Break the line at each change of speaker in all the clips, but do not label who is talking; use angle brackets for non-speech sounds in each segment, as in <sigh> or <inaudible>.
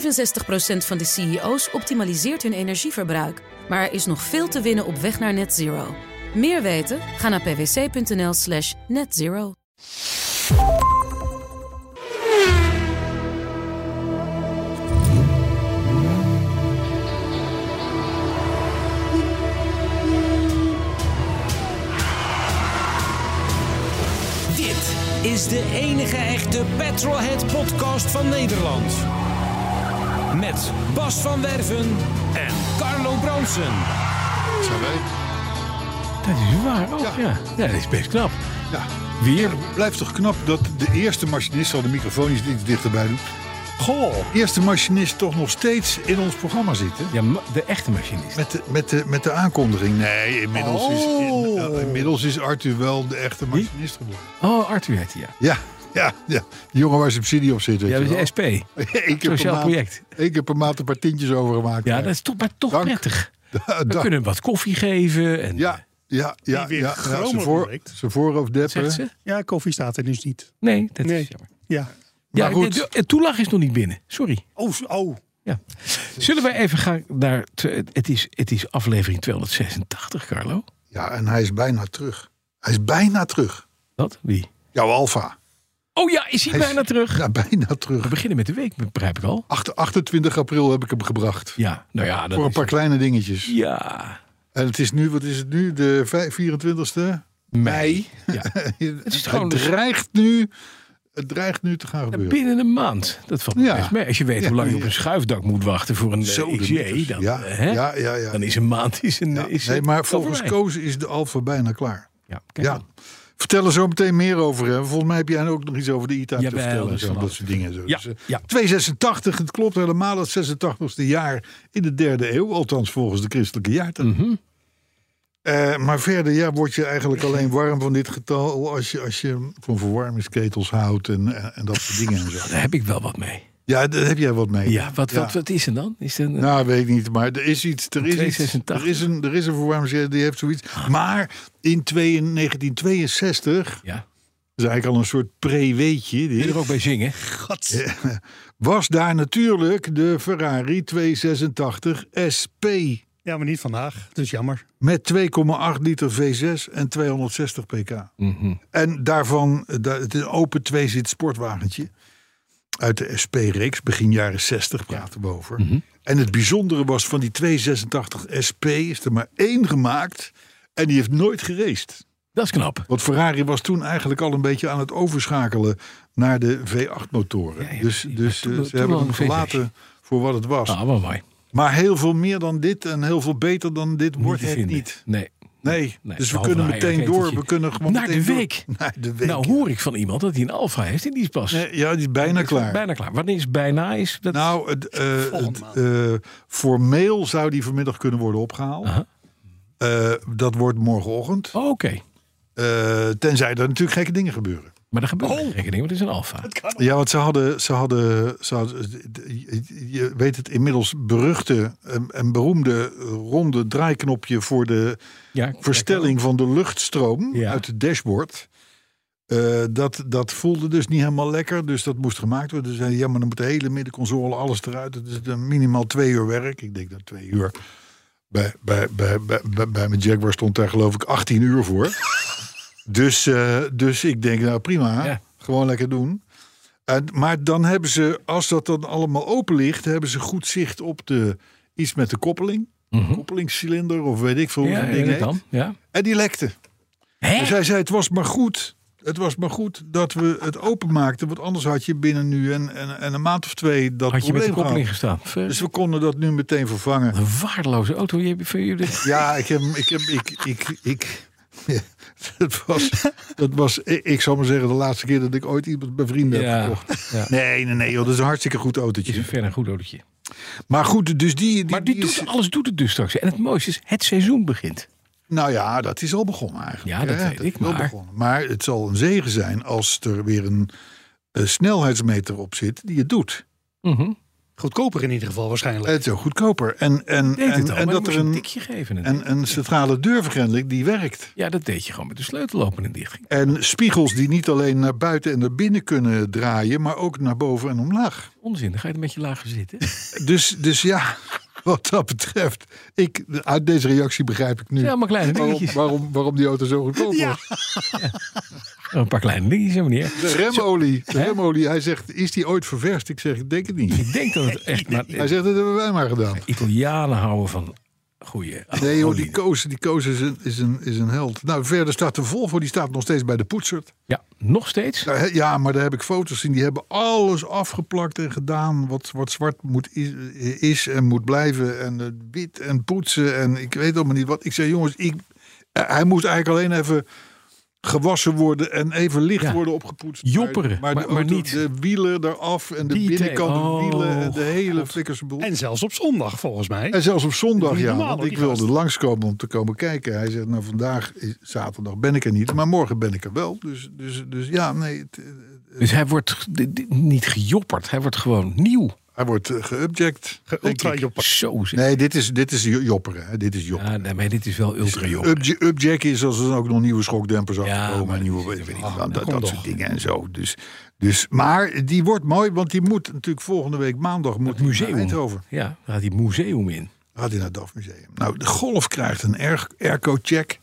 65% van de CEO's optimaliseert hun energieverbruik. Maar er is nog veel te winnen op weg naar net zero. Meer weten? Ga naar pwc.nl slash netzero.
Dit is de enige echte Petrolhead podcast van Nederland. Met Bas van Werven en Carlo Bronsen.
Zo weet.
Dat is waar ook, ja.
Ja.
ja. dat is best knap.
Ja.
Weer?
Het blijft toch knap dat de eerste machinist, zal de microfoon iets iets dichterbij doen,
Goh.
de eerste machinist toch nog steeds in ons programma zit. Hè?
Ja, ma- de echte machinist.
Met, de, met, de, met de aankondiging. Nee, inmiddels, is, in-
Oh.
inmiddels is Arthur wel de echte machinist geworden.
Oh, Arthur heet hij, ja.
Ja, ja, ja. Die jongen waar subsidie op zit. Weet
Ja,
je
dat is
wel.
de SP.
<laughs> Eén keer per
Sociaal
maand-
project.
één keer per maand een paar tientjes overgemaakt.
Ja, dat is toch, maar toch
Dank.
prettig.
<laughs> Da-
We
da-
kunnen hem wat koffie geven. En,
Ja, ja, ja.
weer
ja, ja,
gromer
zijn voor-
blijkt.
zijn voorhoofd deppen.
Zegt ze?
Ja, koffie staat er dus niet.
Nee, dat
Nee.
is jammer.
Ja.
Ja,
Maar goed.
de- de toelag is nog niet binnen. Sorry.
Oh, zo- oh.
Ja. Zullen wij even gaan naar... t- Het is, het is aflevering 286, Carlo.
Ja, en hij is bijna terug. Hij is bijna terug.
Wat? Wie?
Jouw Alfa.
Oh ja, is hij
Hij is-
bijna terug?
Ja, bijna
We
terug.
beginnen met de week, begrijp ik al.
Acht- 28 april heb ik hem gebracht.
Ja, nou ja. Dat
Voor een
is-
paar kleine dingetjes.
Ja,
En het is nu, wat is het nu? De vij- 24ste?
mei. Ja. <laughs>
<laughs> Het,
is gewoon-
dreigt nu, het dreigt nu te gaan
Ja,
gebeuren.
Binnen een maand. Dat valt me
Ja.
best mee. Als je weet
Ja,
hoe lang je
ja.
op een schuifdak moet wachten voor een
Zo
eh,
de
XJ,
mikkers.
dan,
Ja,
eh, hè?
ja, ja, ja.
dan is een maand is een. eh,
Ja,
is
nee,
een-
maar
al
volgens
voorbij.
Koos is de Alfa bijna klaar.
Ja, kijk
Ja.
dan.
Vertel er zo meteen meer over. Hè. Volgens mij heb jij ook nog iets over de ITA te
Jawel,
vertellen. en
dus
zo,
van
dat
alles.
soort dingen. Zo.
Ja,
Dus, eh,
ja.
286, het klopt helemaal. Het 86ste jaar in de derde eeuw. Althans volgens de christelijke
Mhm.
jaartelling. Eh, maar verder ja, word je eigenlijk alleen warm van dit getal... als je, als je van verwarmingsketels houdt en, en, en dat soort dingen. En zo.
Daar heb ik wel wat mee.
Ja, daar heb jij wat mee.
Ja, wat, Wat, wat is er dan? Is er een,
Nou, weet ik niet, maar er is iets. Er is, iets,
286.
er is een, er is een verwarmingsketel die heeft zoiets. Maar in 2 in 1962
ja.
dat is eigenlijk al een soort pre-weetje.
Wil
dit.
je er ook bij zingen?
Was daar natuurlijk de Ferrari 286 SP.
Ja, maar niet vandaag. Dus jammer.
Met 2,8 liter V6 en 260 pk.
Mhm.
En daarvan, eh, da- het is een open tweezit sportwagentje. Uit de SP-reeks, begin jaren 60 praten we over.
Mhm.
En het bijzondere was van die 286 SP is er maar één gemaakt. En die heeft nooit geraced.
Dat is knap.
Want Ferrari was toen eigenlijk al een beetje aan het overschakelen naar de V8-motoren.
Ja, ja,
dus
precies.
dus
Maar
eh,
toen-
ze
toen
hebben
al
hem
een V6.
gelaten voor wat het was.
Ah, wel mooi.
Maar heel veel meer dan dit en heel veel beter dan dit wordt
te
het
vinden.
niet.
Nee.
Nee,
Nee,
dus we
behalve
kunnen
een
meteen
eierketeltje.
door. We kunnen gewoon
Naar de
meteen door.
week.
<laughs> Naar de week.
Nou hoor ik van iemand dat hij een alfa heeft en die is pas
Nee, ja, die is bijna klaar.
bijna klaar. Wanneer is bijna is? Dat
Nou, het, eh,
Volgende
het, eh, formeel zou die vanmiddag kunnen worden opgehaald.
Aha.
Eh, dat wordt morgenochtend.
Oh, Oké.
Eh, tenzij er natuurlijk gekke dingen gebeuren.
Maar dat
Oh.
gebeurt geen rekening, want het is een alfa.
Ja, want ze hadden, ze hadden, ze hadden- je- je weet het inmiddels beruchte en, en beroemde ronde draaiknopje voor de
Ja,
verstelling van de luchtstroom
Ja.
uit het dashboard. Eh, dat, dat voelde dus niet helemaal lekker, dus dat moest gemaakt worden. Ze zeiden, ja, maar dan moet de hele middenconsole, alles eruit. Het is dan minimaal twee uur werk. Ik denk dat twee uur. Bij, bij, bij, bij, bij, bij mijn Jaguar stond daar geloof ik 18 uur
<laughs>
voor. dus, eh, dus ik denk, nou prima,
Ja.
gewoon lekker doen. En, maar dan hebben ze, als dat dan allemaal open ligt, hebben ze goed zicht op de, iets met de koppeling. Koppelingscilinder of weet ik veel hoe
Mhm. Ja,
zo'n
ja,
ding
dat
heet.
dan. Ja.
En die lekte.
Hè?
Dus hij zei, het was maar goed. Het was maar goed dat we het openmaakten. Want anders had je binnen nu en, en, en een maand of twee dat
Had je met de
probleem
koppeling
gehad.
gestaan? Ver-
Dus we konden dat nu meteen
<laughs>
vervangen.
Een waardeloze auto. Je, hebt- voor jullie.
Ja, ik heb... Ik heb ik, ik, ik, <laughs> dat was, dat was, ik, ik zal maar zeggen, de laatste keer dat ik ooit iemand bij vrienden heb
ja,
gekocht.
ja.
Nee, nee, nee, joh, dat is een hartstikke goed
Is
autootje.
een verder een goed autootje.
Maar goed, dus die... die,
Maar die
die is-
doet, alles doet het dus straks. En het mooiste is, het seizoen begint.
Nou ja, dat is al begonnen eigenlijk.
Ja, dat
hè.
weet ik,
is al
maar-
begonnen. maar het zal een zegen zijn als er weer een eh, snelheidsmeter op zit die het doet.
Goedkoper in ieder geval waarschijnlijk.
Het is ook goedkoper. En, en,
Deed
en,
het al, maar
en dat
je
er
moest een
een,
tikje geven.
en, een centrale deurvergrendeling die werkt.
ja, dat deed je gewoon met de sleutel open en dicht. ging.
En spiegels die niet alleen naar buiten en naar binnen kunnen draaien, maar ook naar boven en omlaag.
Onzin, dan ga je er met je lager
<laughs>
zitten.
Dus, dus ja, <laughs> wat dat betreft, ik, uit deze reactie begrijp ik nu
Ja, maar kleine
waarom,
dingetjes.
waarom, waarom die auto zo goedkoop was.
Een paar kleine dingetjes, ja, meneer.
De remolie, de remolie, hij zegt, is die ooit ververst? Ik zeg, ik denk het niet.
Ik denk dat het echt... Maar,
Hij zegt, dat hebben wij maar
<laughs>
gedaan.
Italianen houden van goede
Nee joh, die koos, die koos is, een, is, een, is een held. Nou, verder staat de Volvo, die staat nog steeds bij de poetsert.
Ja, nog steeds.
Nou, hè, Ja, maar daar heb ik foto's zien. Die hebben alles afgeplakt en gedaan wat, wat zwart moet, is, is en moet blijven. En eh, wit en poetsen en ik weet allemaal niet wat. Ik zei, jongens, ik, eh, hij moest eigenlijk alleen even gewassen worden en even licht
Ja.
worden opgepoetst.
Jopperen,
de
maar- maar
auto-
niet.
De wielen eraf en de
Detail.
binnenkant, de wielen en
Oh,
de hele flikkersenboel.
En zelfs op zondag volgens mij.
En zelfs op zondag,
Dat is niet
ja.
normaal,
Want
hoor,
ik
die
wilde
gast.
langskomen om te komen kijken. Hij zegt, nou vandaag, is, zaterdag ben ik er niet, maar morgen ben ik er wel. Dus, dus, dus ja, nee, het, eh,
Dus hij wordt g- d- d- niet gejopperd, hij wordt gewoon nieuw.
hij wordt eh, geubject. denk
Ultra
ik.
jopper.
Zo zeg.
Nee, dit is, dit is jo- jopperen. Hè. Dit is jopperen.
Ja, nee, maar dit is
Dus,
wel
eh,
ultra jong.
Upj- Upjack is als er ook nog nieuwe schokdempers
Ja,
afkomen.
maar
en nieuwe,
dat is-
weet ik
ah, dat
wat, dat,
komt
dat
toch.
soort dingen en zo. Dus, dus, maar die wordt mooi, want die moet natuurlijk volgende week maandag moet
Het
hij naar Eindhoven.
museum. Ja, daar gaat hij museum in.
Had hij naar het DAF Museum. Nou, de Golf krijgt een air- airco-check.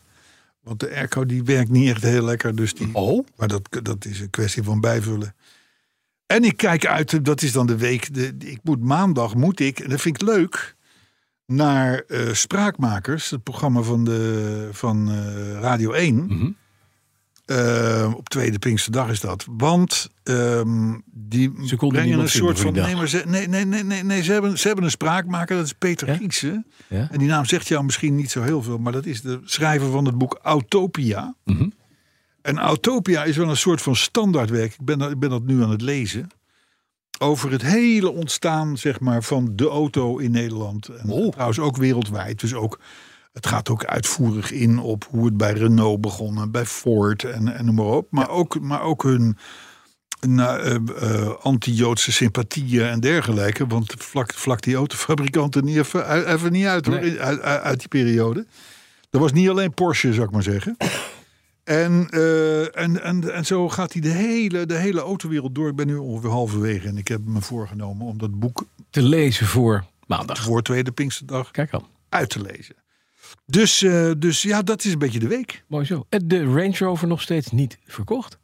Want de airco die werkt niet echt heel lekker. Dus die,
Oh,
Maar dat, dat is een kwestie van bijvullen. En ik kijk uit, dat is dan de week. De, ik moet maandag, moet ik, en dat vind ik leuk, naar eh, Spraakmakers. Het programma van, de, van eh, Radio 1.
Mhm.
Eh, op tweede Pinksterdag is dat. Want ehm, die
Ze konden
brengen
niemand
een
vinden voor
soort van...
die
Nee, maar ze, nee, nee, nee, nee, nee, ze, hebben, ze hebben een spraakmaker, dat is Peter
Ja?
Giekse.
Ja?
En die naam zegt jou misschien niet zo heel veel, maar dat is de schrijver van het boek Autopia.
Mhm.
En Autopia is wel een soort van standaardwerk. Ik ben, dat- ik ben dat nu aan het lezen. Over het hele ontstaan zeg maar, van de auto in Nederland. En Trouwens ook wereldwijd. Dus ook, het gaat ook uitvoerig in op hoe het bij Renault begon. En bij Ford en, en noem maar op. Maar, ook, maar ook hun nou, eh, eh, anti-Joodse sympathieën en dergelijke. Want vlak, vlak die autofabrikanten niet even, eh, even niet uit, hoor,
Nee.
in- uit, uit- uit die periode. Dat was niet alleen Porsche, zou ik maar zeggen. En, eh, en, en, en zo gaat hij de hele, de hele autowereld door. Ik ben nu ongeveer halverwege en ik heb me voorgenomen om dat boek
Te lezen voor maandag.
voor Tweede Pinksterdag
Kijk al,
uit te lezen. Dus, eh, dus ja, dat is een beetje de week.
mooi zo. En De Range Rover nog steeds niet verkocht.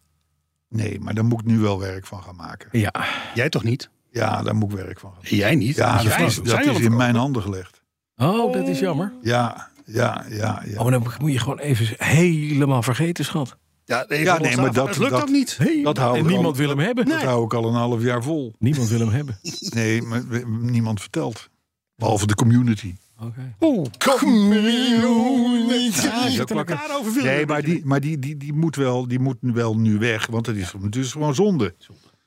Nee, maar daar moet ik nu wel werk van gaan maken.
Ja,
jij toch niet?
Ja, daar moet ik werk van gaan maken.
Jij niet?
Ja,
jij,
dat is,
jij
dat
wil
is
het
in mijn handen gelegd.
oh, dat is jammer.
Ja, ja, ja.
Oh,
ja.
maar dan moet je gewoon even helemaal vergeten, schat.
Ja, nee,
Ja,
van
nee, maar
ontstaan.
dat-
het lukt
dat-
ook niet.
Dat
en
houden we
niemand
allemaal.
wil hem hebben.
Dat hou ik al een half jaar vol.
Niemand wil hem hebben. Oké.
Nee, maar we- niemand vertelt. Behalve de community. Oh.
Oeh,
Community.
daarover viel
Nee,
het
maar, die, maar die, die, die, moet wel, die moet wel nu weg. Want dat is, het is gewoon zonde.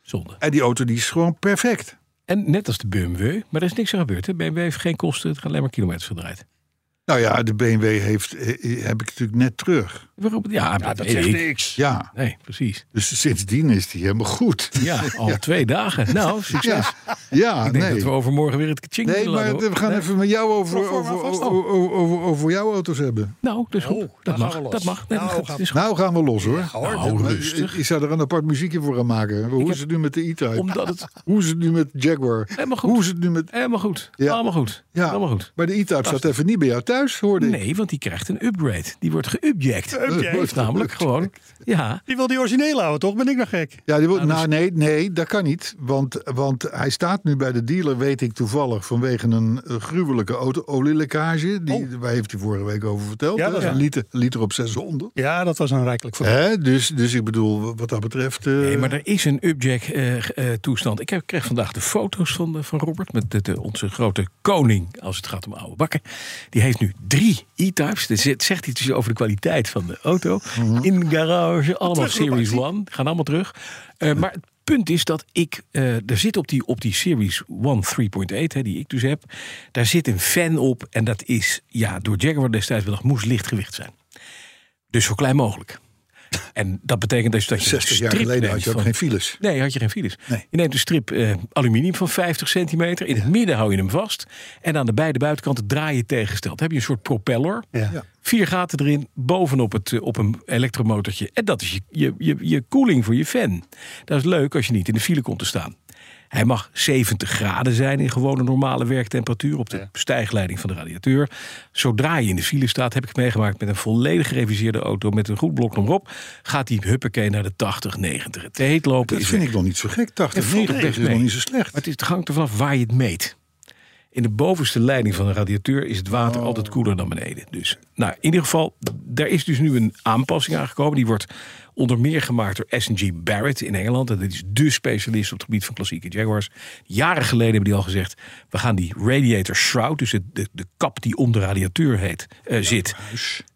Zonde.
En die auto die is gewoon perfect.
En net als de BMW, maar er is niks aan gebeurd. Hè? BMW heeft geen kosten, het gaat alleen maar kilometers gedraaid.
Nou ja, de BMW heeft, eh, heb ik natuurlijk net terug.
Waarom? Ja,
Ja,
dat
dat
weet
zegt
ik.
niks.
Ja,
Nee, precies.
dus sindsdien is die helemaal goed.
Ja, al twee dagen. Nou, succes.
Ja, ja
Ik denk
nee.
dat we overmorgen weer het kaching
Nee,
moeten
maar
laden, hoor.
we gaan
Nee.
even met jou over,
Proforma
over,
vast
over,
al.
over, over, over jouw auto's hebben.
Nou, dat is goed.
Oh,
dat,
dan
mag.
gaan we los.
dat mag. Nee,
Nou,
goed.
gaan
Het
we-
is goed.
Nou gaan we los hoor.
hoor.
Nou,
Maar
rustig.
Ik zou er een apart muziekje voor gaan maken. Hoe is het nu met de E-Type?
Omdat het
Hoe is het nu met Jaguar?
helemaal
Hoe
Eh, goed.
is het nu met...
Helemaal goed.
Ja.
Allemaal goed.
Ja.
Allemaal goed.
Maar de E-Type staat even niet bij jou thuis, hoorde ik.
Nee, want die krijgt een upgrade. Die wordt geubject.
Upject.
Dat wordt namelijk gewoon. Ja,
Die wil die originele houden, toch? Ben ik nog gek?
Ja, die wil, nou,
dus-
nee, nee, dat kan niet. Want, want hij staat nu bij de dealer, weet ik toevallig, vanwege een eh, gruwelijke auto, olielekkage. Die,
Oh.
Waar heeft hij vorige week over verteld?
Ja,
hè?
dat is
een
waar.
liter, liter op 600.
Ja, dat was een rijkelijk voor.
Hè? Dus, dus ik bedoel, wat dat betreft... eh,
nee, maar er is een upjack eh, eh, toestand. Ik heb, kreeg vandaag de foto's van, eh, van Robert. Met de, de- onze grote koning, als het gaat om oude bakken. Die heeft nu drie E-types. Er zit- zegt iets dus over de kwaliteit van de auto.
Mhm.
In de garage, allemaal Series 1. Gaan allemaal terug. Eh, maar het punt is dat ik... eh, er zit op die, op die Series 1 3.8, hè, die ik dus heb... daar zit een fan op. En dat is, ja, door Jaguar destijds bedacht... moest lichtgewicht zijn. Dus zo klein mogelijk. En dat betekent dus dat je een
60 jaar
strip
geleden had
neemt
je ook
van-
geen files.
Nee, had je geen files.
Nee.
Je neemt een strip eh, aluminium van 50 centimeter. In het midden hou je hem vast. En aan de beide buitenkanten draai je tegengesteld. Dan heb je een soort propeller.
Ja.
Ja.
Vier gaten erin, bovenop het, eh, op een elektromotortje. En dat is je, je, je, je koeling voor je fan. Dat is leuk als je niet in de file komt te staan. Hij mag 70 graden zijn in gewone normale werktemperatuur op de stijgleiding van de radiateur. Zodra je in de file staat, heb ik het meegemaakt met een volledig gereviseerde auto met een goed blok erop. Gaat die huppakee naar de 80, 90. Het heet lopen
Dat
is
vind
weg.
ik nog niet zo gek.
Ja,
80,
valt
90
echt
is nog
mee.
niet zo slecht.
Maar het, is, het hangt er vanaf waar je het meet. In de bovenste leiding van een radiateur is het water altijd koeler dan beneden. Dus, nou, in ieder geval, daar is dus nu een aanpassing aangekomen. Die wordt onder meer gemaakt door S&G Barrett in Engeland. En dat is dé specialist op het gebied van klassieke Jaguars. Jaren geleden hebben die al gezegd... we gaan die radiator shroud, dus het- de, de kap die om de radiateur heet, eh, zit...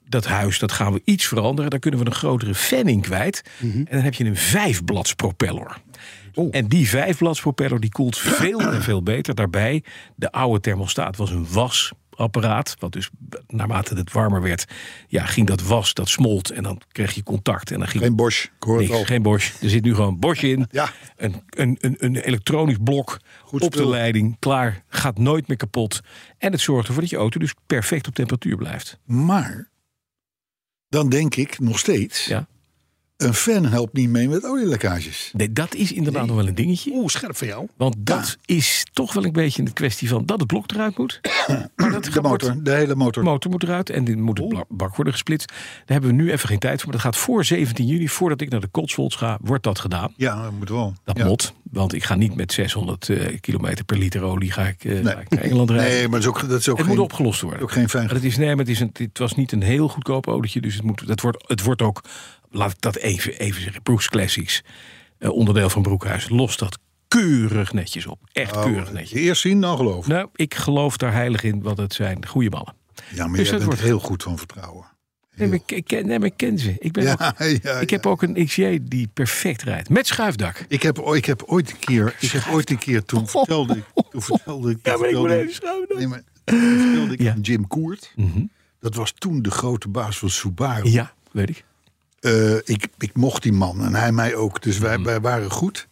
Dat huis, dat gaan we iets veranderen. Daar kunnen we een grotere fan in kwijt.
Mhm.
En dan heb je een vijfbladspropeller.
Oh.
En die vijfbladspropeller die koelt veel en veel beter. Daarbij, de oude thermostaat was een wasapparaat. Wat dus naarmate het warmer werd, ja, ging dat was, dat smolt. En dan kreeg je contact. En dan ging
Geen Bosch, ik hoor het
niks.
al.
Geen Bosch. Er zit nu gewoon Bosch in.
Ja.
Een, een, een, een elektronisch blok op
spul.
de leiding. Klaar. Gaat nooit meer kapot. En het zorgt ervoor dat je auto dus perfect op temperatuur blijft.
Maar dan denk ik nog steeds,
Ja.
een fan helpt niet mee met olielekkages.
Nee, dat is inderdaad nog wel een dingetje.
Oeh, scherp van jou.
Want dat is toch wel een beetje een kwestie van dat het blok eruit
<coughs>
moet. maar dat
De
wordt-
motor, de hele motor.
De motor moet eruit en dit moet het bla- bak worden gesplitst. Daar hebben we nu even geen tijd voor. Maar dat gaat voor 17 juni, voordat ik naar de Cotswolds ga, wordt dat gedaan.
Ja, dat moet wel.
Dat
Ja.
moet, want ik ga niet met 600 eh kilometer per liter olie ga ik, eh,
Nee.
ga ik naar Engeland rijden.
Nee, maar dat is ook, dat is ook
het
geen...
moet opgelost worden.
ook geen fijn-
Maar het, is, nee, maar het, is een, het was niet een heel goedkoop autootje, dus het, moet, dat wordt, het wordt ook, laat ik dat even, even zeggen, Brooks Classics, eh, onderdeel van Broekhuis, lost dat keurig netjes op. Echt
Oh,
keurig netjes.
Eerst zien, dan geloven.
Nou, ik geloof daar heilig in, want het zijn goede mannen.
Ja, maar
Dus dat
jij bent
wordt-
heel goed van vertrouwen.
Nee, maar ik- ik, ken- nee, maar ik ken ze. Ik, ben
<laughs> Ja,
ook-
ja, ja.
ik heb ook een XJ die perfect rijdt. Met schuifdak.
Ik heb, ooit- ik heb ooit een keer, ik heb ooit een keer toen vertelde ik, toen vertelde ik, toen vertelde ik-
schuifdak.
nee, maar, toen vertelde ik
Ja.
aan Jim Koert. Dat was toen de grote baas van Subaru.
Mhm. Ja, weet ik.
Eh, ik, ik mocht die man en hij mij ook. Dus
Mhm.
wij, wij waren goed.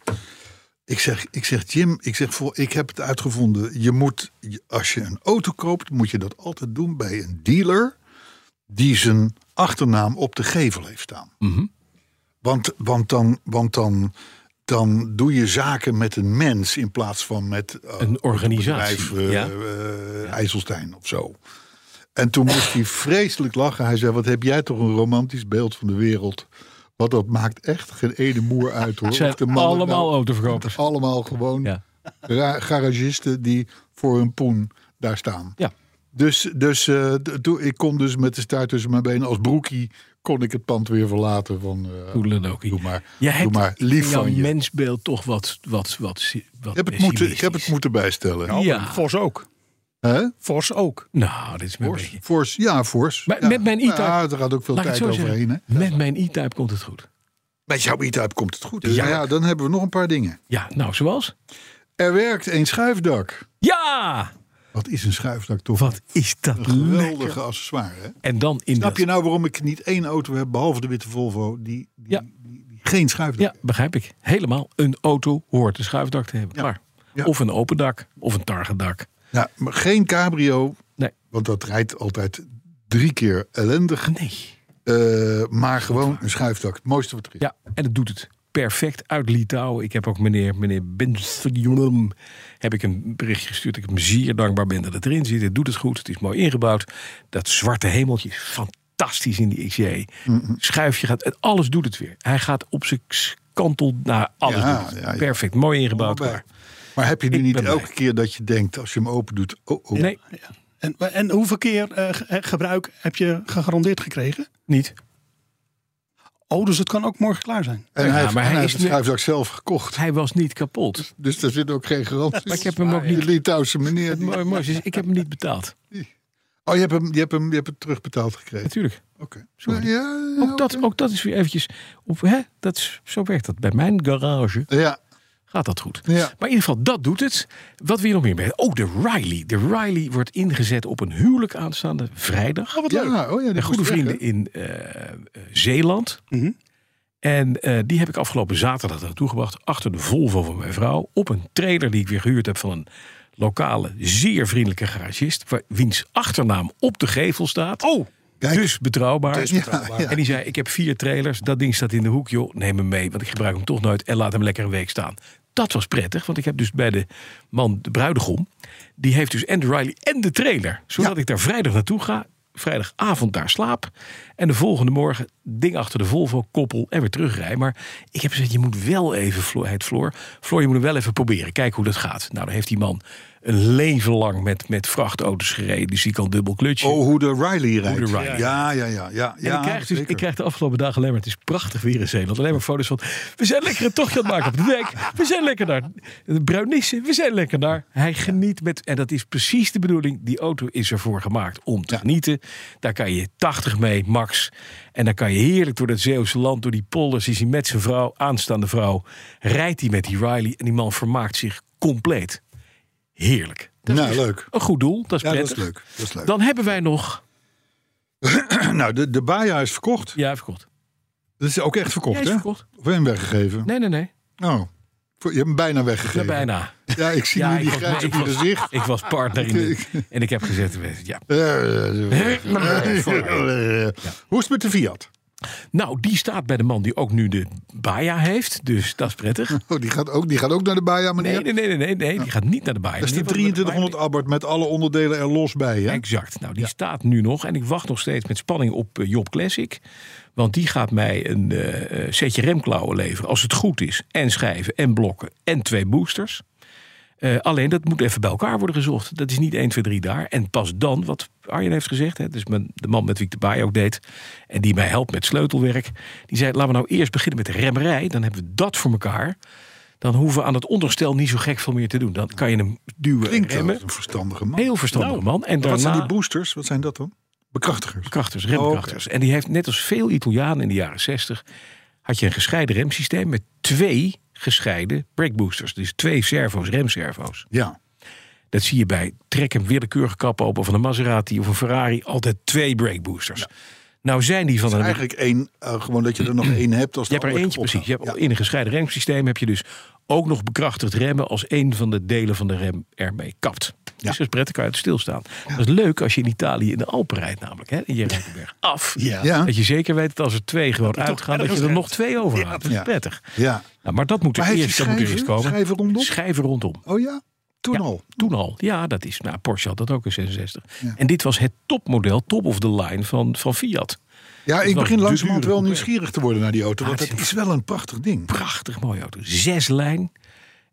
Ik zeg, ik zeg Jim, ik, zeg, vol- ik heb het uitgevonden. Je moet, je- als je een auto koopt, moet je dat altijd doen bij een dealer die zijn achternaam op de gevel heeft staan.
Mhm.
Want, want, dan, want dan, dan doe je zaken met een mens in plaats van met eh,
Een organisatie.
bedrijf eh,
ja.
eh, IJsselstein of zo. En toen moest hij vreselijk lachen. Hij zei, wat heb jij toch een romantisch beeld van de wereld. Want dat maakt echt geen ene moer uit. Hoor.
Het zijn
Of de mannen
allemaal
nou-
autoverkopers.
<laughs> Allemaal gewoon
Ja.
ra- garagisten die voor hun poen daar staan.
ja.
Dus, dus eh, d- toen- ik kon dus met de staart tussen mijn benen als broekie... kon ik het pand weer verlaten van... eh,
Toedeledokie.
doe maar,
Jij
doe
hebt
maar lief
jouw
van je.
mensbeeld toch wat, wat, wat, wat
Ik heb, het moeten, ik heb
pessimistisch.
het moeten bijstellen.
Ja.
Fors ook.
Hè?
Fors ook.
Nou, dit is mijn beetje.
Fors, ja, fors.
Maar
Ja.
met mijn
Nou
e-type...
Ja, er gaat ook veel
laat ik het
tijd
zo
overheen. Hè?
zeggen, Met mijn e-type komt het goed.
Bij jouw e-type komt het goed. Dus
Ja.
ja. ja, dan hebben we nog een paar dingen.
Ja, nou, zoals?
Er werkt een schuifdak.
Ja!
Wat is een schuifdak toch?
Wat is dat
een geweldige
lekker.
accessoire. Hè?
En dan in
Snap
dat...
je nou waarom ik niet één auto heb, behalve de witte Volvo, die, die,
Ja.
die- die geen schuifdak
Ja, begrijp ik. Helemaal. Een auto hoort een schuifdak te hebben.
Ja.
Klaar.
Ja.
Of een open dak. Of een targetdak.
heeft? Ja, maar geen cabrio,
Nee.
want dat rijdt altijd drie keer ellendig.
Ah, Nee.
Eh, maar gewoon een schuifdak. Het mooiste wat er is.
Ja, en dat doet het perfect uit Litouwen. Ik heb ook meneer, meneer Benstjulm heb ik een berichtje gestuurd. Ik hem zeer dankbaar ben dat het erin zit. Het doet het goed. Het is mooi ingebouwd. Dat zwarte hemeltje is fantastisch in die XJ. Schuifje gaat, en alles doet het weer. Hij gaat op zijn kantel naar alles.
Ja,
doet het.
ja, ja.
Perfect, mooi ingebouwd.
Allebei.
klaar.
Maar heb je nu
Ik
niet
ben blij.
elke keer dat je denkt, als je hem open doet, oh, oh.
Nee,
En, en hoeveel keer eh, ge- eh, gebruik heb je gegarandeerd gekregen?
niet.
Oh, dus het kan ook morgen klaar zijn.
En
Ja,
hij heeft,
maar
en
hij
hij
is
heeft de
nu-
schuifdak zelf gekocht.
Hij was niet kapot.
Dus daar zit ook geen garantie.
Maar ik heb hem ook
Die
niet.
Litouwse meneer.
Het
die-
mooie, mooie is, ik heb hem niet betaald.
Oh, je hebt hem, je hebt hem, je hebt het terugbetaald gekregen.
Natuurlijk.
Oké.
Sorry.
Ja, ja,
Ook dat, ook dat is weer eventjes. Op, hè? Dat is, zo werkt dat. Bij mijn garage
ja.
gaat dat goed.
Ja.
Maar in ieder geval, dat doet het. Wat we hier nog meer bij. Oh, de Riley. De Riley wordt ingezet op een huwelijk aanstaande vrijdag.
Ja, oh ja, die
Mijn goede
moest weg, Mhm.
vrienden in eh, eh, Zeeland. En eh, die heb ik afgelopen zaterdag naartoe gebracht. Achter de Volvo van mijn vrouw. Op een trailer die ik weer gehuurd heb van een lokale, zeer vriendelijke garagist. waar- Wiens achternaam op de gevel staat. Oh,
kijk.
dus betrouwbaar.
Dus betrouwbaar. Ja, ja.
En die zei, ik heb vier trailers. Dat ding staat in de hoek, joh. Neem hem mee, want ik gebruik hem toch nooit. En laat hem lekker een week staan. Dat was prettig, want ik heb dus bij de man, de bruidegom... die heeft dus en de Riley en de trailer. Zodat ik daar vrijdag naartoe ga. Vrijdagavond daar slaap. En de volgende morgen ding achter de Volvo, koppel en weer terugrij. Maar ik heb gezegd, je moet wel even, Floor, heet Floor... Floor, je moet hem wel even proberen. Kijk hoe dat gaat. Nou, dan heeft die man een leven lang met, met vrachtauto's gereden. Dus die kan dubbel klutje.
Oh, hoe de Riley rijdt.
de Riley.
Ja, ja, ja. ja,
En
ja
ik, krijg dus,
zeker.
ik krijg de afgelopen dagen alleen maar, het is prachtig weer in Zeeland. Alleen maar foto's van, we zijn lekker een tochtje aan het maken op de dek. We zijn lekker naar de Bruinissen. We zijn lekker naar. Hij geniet met, en dat is precies de bedoeling. Die auto is ervoor gemaakt om te
Ja.
genieten. Daar kan je 80 mee, max. En dan kan je heerlijk door dat Zeeuwse land, door die polders. Is hij met zijn vrouw, aanstaande vrouw. Rijdt hij met die Riley en die man vermaakt zich compleet. Heerlijk. Dat is
Nou, leuk.
Een goed doel, dat is
Ja, dat
prettig.
is leuk. Dat is leuk.
Dan hebben wij nog,
nou, de, de Baja is verkocht.
ja, verkocht.
Dat is ook echt verkocht,
Jij is
hè?
verkocht.
Of heb je hem weggegeven?
Nee, nee, nee.
Oh, voor- je hebt hem bijna
Ja,
weggegeven.
bijna.
Ja, ik zie
Ja,
nu die
ik was-
grijs op
ik
je
was-
gezicht.
Ik was partner in de, en ik heb gezegd, ja.
Hoe is het met de Fiat?
Nou, die staat bij de man die ook nu de Baja heeft, dus dat is prettig.
Oh, die, gaat ook, die gaat ook naar de Baja, meneer?
Nee, nee, nee, nee, nee, nee, die gaat niet naar de Baja.
Dat is de
Die wordt met de Baja-
2300 Abarth met alle onderdelen er los bij, hè?
Exact. Nou, die staat nu nog en ik wacht nog steeds met spanning op eh, Job Classic. Want die gaat mij een eh, eh, setje remklauwen leveren, als het goed is. En schijven, en blokken, en twee boosters. Eh, alleen dat moet even bij elkaar worden gezocht. Dat is niet 1, 2, 3 daar. En pas dan, wat Arjen heeft gezegd, hè, dus mijn, de man met wie ik de baai ook deed. en die mij helpt met sleutelwerk. die zei: laten we nou eerst beginnen met de remmerij. Dan hebben we dat voor elkaar. Dan hoeven we aan het onderstel niet zo gek veel meer te doen. Dan kan je hem duwen
Klinkt
en
wel
remmen.
als een verstandige man.
Heel verstandig man. En
Nou, Wat zijn
Nou, daarna-
die boosters? Wat zijn dat dan? Bekrachtigers.
Krachters, remkrachters. En die heeft net als veel Italianen in de jaren 60 had je een gescheiden remsysteem met twee gescheiden brakeboosters. Dus twee servo's, remservo's.
Ja.
Dat zie je bij trek en willekeurige kap open van een Maserati of een Ferrari altijd twee brakeboosters. Nou zijn die van een
Eigenlijk één, eh, gewoon dat je er nog één hebt als
je
de
hebt er
ander
eentje precies.
Oh, kapot
Je hebt
gaat. Ja.
in een gescheiden remsysteem heb je dus ook nog bekrachtigd remmen als een van de delen van de rem ermee kapt. Dus dat is prettig, kan je het stilstaan. Dat is leuk als je in Italië in de Alpen rijdt namelijk. Hè? En je rijdt de
<laughs>
berg af.
Ja.
Ja.
Dat je zeker weet dat als er twee gewoon
toch
uitgaan, dat je er
ergens
nog twee overhoudt. dat is
Ja.
prettig.
Ja.
Nou, maar dat moet er
Maar heeft
eerst,
hij
dat moet er eerst
schijven?
komen.
Schijven rondom?
Schijven rondom.
Oh ja? Toen
Ja.
al.
Toen al. Ja, dat is. Nou, Porsche had dat ook in 66. En dit was het topmodel, top of the line van, van Fiat.
Ja, ik
was
begin
de
langzamerhand
dure
wel
coupé.
nieuwsgierig te worden naar die auto. Want
het
het is wel een prachtig ding.
prachtig mooie auto. Zes lijn.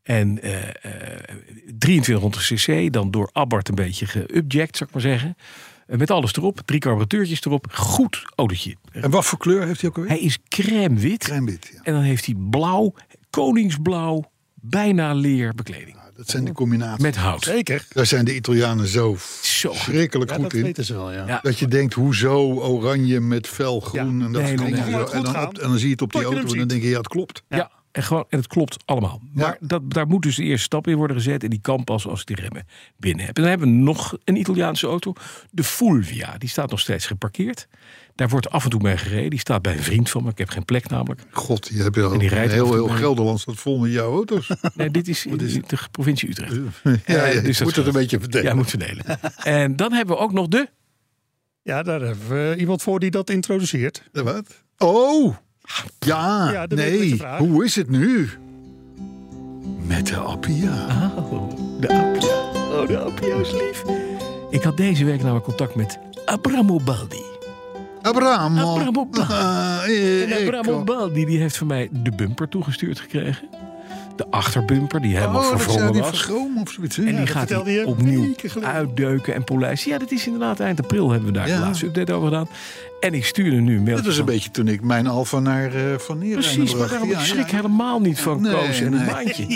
En eh eh, 2300 cc, dan door Abarth een beetje geupjacked, zou ik maar zeggen. Eh, Met alles erop, drie carburateurtjes erop. Goed autootje.
En wat voor kleur heeft hij ook alweer?
Hij is crème wit.
Crème-wit, ja.
En dan heeft hij blauw, koningsblauw, bijna leer bekleding.
Dat zijn die combinaties.
Met hout.
Zeker.
Daar zijn de Italianen zo
Zo goed.
verschrikkelijk
Ja,
goed
dat
in.
weten ze wel, ja.
Ja.
Dat je denkt, hoezo oranje met fel groen en dat
nee,
soort
nee,
dingen.
nee.
Zo.
Moet het
En,
goed
dan
gaan.
op- en dan zie je het op die
Tot je
auto en
hem
dan
ziet.
denk je, ja, het klopt.
Ja. en, gewoon, en het klopt allemaal. Maar dat, daar moet dus de eerste stap in worden gezet. En die kan pas als ik die remmen binnen heb. En dan hebben we nog een Italiaanse auto. De Fulvia. Die staat nog steeds geparkeerd. Daar wordt af en toe mee gereden. Die staat bij een vriend van me. Ik heb geen plek namelijk.
God, je hebt heel,
En die rijdt
heel,
af en
heel
toe.
Gelderland staat vol met jouw auto's.
<laughs>
ja,
Nee, dit is, in de provincie Utrecht. <laughs> Eh,
ja, je
dus dat
moet het
scheelt.
een beetje
Ja,
verdelen.
moet verdelen. en dan hebben we ook nog de...
Ja, daar hebben we iemand voor die dat introduceert.
Eh, Wat? Oh! Ja,
Ja, dat weet ik wat je
nee.
vraagt.
Hoe is het nu? Met de Appia.
Oh, de Appia. Oh, de Appia is lief. Ik had deze week namelijk contact met Abramo Baldi.
Abramo.
Abramo Baldi.
Ah, eh,
En
ecco.
Abramo Baldi die heeft van mij de bumper toegestuurd gekregen. De achterbumper die helemaal
Oh, dat zou
verwrongen
die
was.
vergroom of zoiets.
En
Ja,
die gaat
vertelde
hij
je
opnieuw
weken geleden.
uitdeuken en polijsten. Ja, dat is inderdaad eind april hebben we daar
Ja.
de laatste update over gedaan. En ik stuurde nu een mail.
Dat is een beetje toen ik mijn Alfa naar eh, Van Neer
Precies, maar daarom ik schrik helemaal niet van
Nee,
Koos en een
nee.
maandje.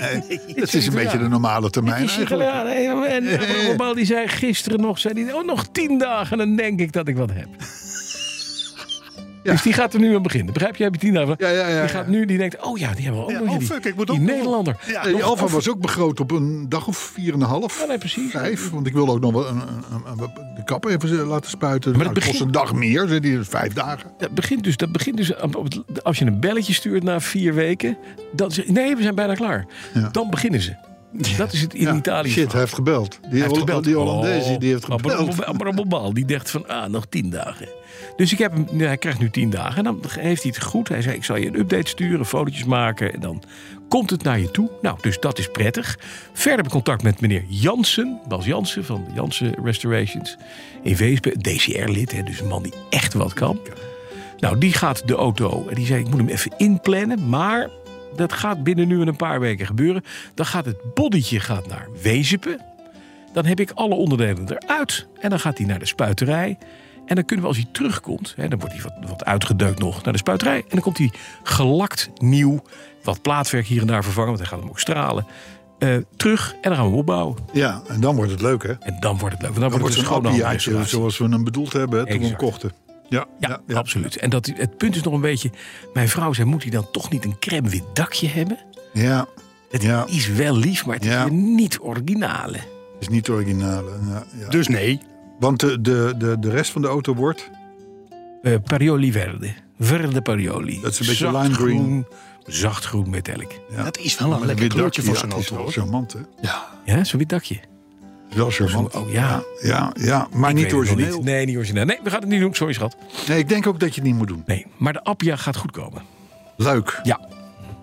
Het is een beetje de normale termijn
Die
eigenlijk.
sigaar, hè, En eh, Abramo Baldi zei gisteren nog, zei die, oh, nog tien dagen, dan denk ik dat ik wat heb.
Ja.
Dus die gaat er nu aan beginnen. Begrijp je? Heb je die nou?
Ja, ja, ja,
die
ja.
gaat nu, die denkt, oh ja, die hebben we ook
Ja,
nog.
oh,
die-
fuck, ik moet
die
ook nog-
Nederlander.
Ja.
Nee, die
Nog-
Alfa
of-
was ook begroot op een dag of vier en een half.
Ja, nee, precies.
Vijf, want ik wilde ook nog wel een, een, een- een- de kap even eh, laten spuiten. Maar
het
nou, het kost een dag meer, zei die, vijf dagen.
Dat begint dus, dat begint dus op het- als je een belletje stuurt na vier weken. Dan zeg je, nee, we zijn bijna klaar.
Ja.
Dan beginnen ze. Dat is het in
Ja,
Italië.
Shit, hij heeft gebeld. Die,
Hij heeft
Holl-
gebeld.
die Hollandees die heeft
Oh,
gebeld.
Abra- Abra- Abramobaal, die dacht van, ah, nog tien dagen. Dus ik heb hem, hij krijgt nu tien dagen. En dan heeft hij het goed. Hij zei, ik zal je een update sturen, fotootjes maken. En dan komt het naar je toe. Nou, dus dat is prettig. Verder heb ik contact met meneer Jansen. Bas Jansen van Jansen Restorations. In Weespe, DCR-lid. hè, Dus een man die echt wat kan. Nou, die gaat de auto. En die zei, ik moet hem even inplannen. Maar dat gaat binnen nu en een paar weken gebeuren. Dan gaat het bodytje gaat naar Wezepen. Dan heb ik alle onderdelen eruit. En dan gaat hij naar de spuiterij. En dan kunnen we als hij terugkomt, hè, dan wordt hij wat, wat uitgedeukt nog naar de spuiterij. En dan komt hij gelakt nieuw, wat plaatwerk hier en daar vervangen, want hij gaat hem ook stralen. eh, terug en dan gaan we hem opbouwen.
Ja, en dan wordt het leuk, hè?
En dan wordt het leuk. Want dan, wordt
Dan wordt het
het dus
een
een schone
appiejaatje,
handrestauratie.
zoals we hem bedoeld hebben hè, toen we hem
Exact.
kochten. Ja,
Ja, absoluut. En dat, het punt is nog een beetje... Mijn vrouw zei, moet hij dan toch niet een crème wit dakje hebben?
Ja,
Het
Ja.
is wel lief, maar het
Ja.
is weer niet originale.
is niet originale. Ja, ja.
Dus nee.
Want de, de, de, de rest van de auto wordt...
Eh, parioli verde. Verde parioli.
Dat is een beetje
Zacht
lime green.
groen, Zacht groen metallic.
Ja.
Dat is wel een
Met
lekker
wit
kleurtje voor
dakje,
zo'n
ja, het
auto,
is wel charmant, hè?
Ja, zo'n wit dakje.
Het is Wel charmant.
Oh ja.
Ja, ja, maar
Ik weet
niet
het nog
origineel.
niet. Nee, niet origineel. Nee, we gaan het niet doen. Sorry, schat.
Nee, ik denk ook dat je het niet moet doen.
Nee, maar de Appia gaat goed komen.
Leuk.
Ja.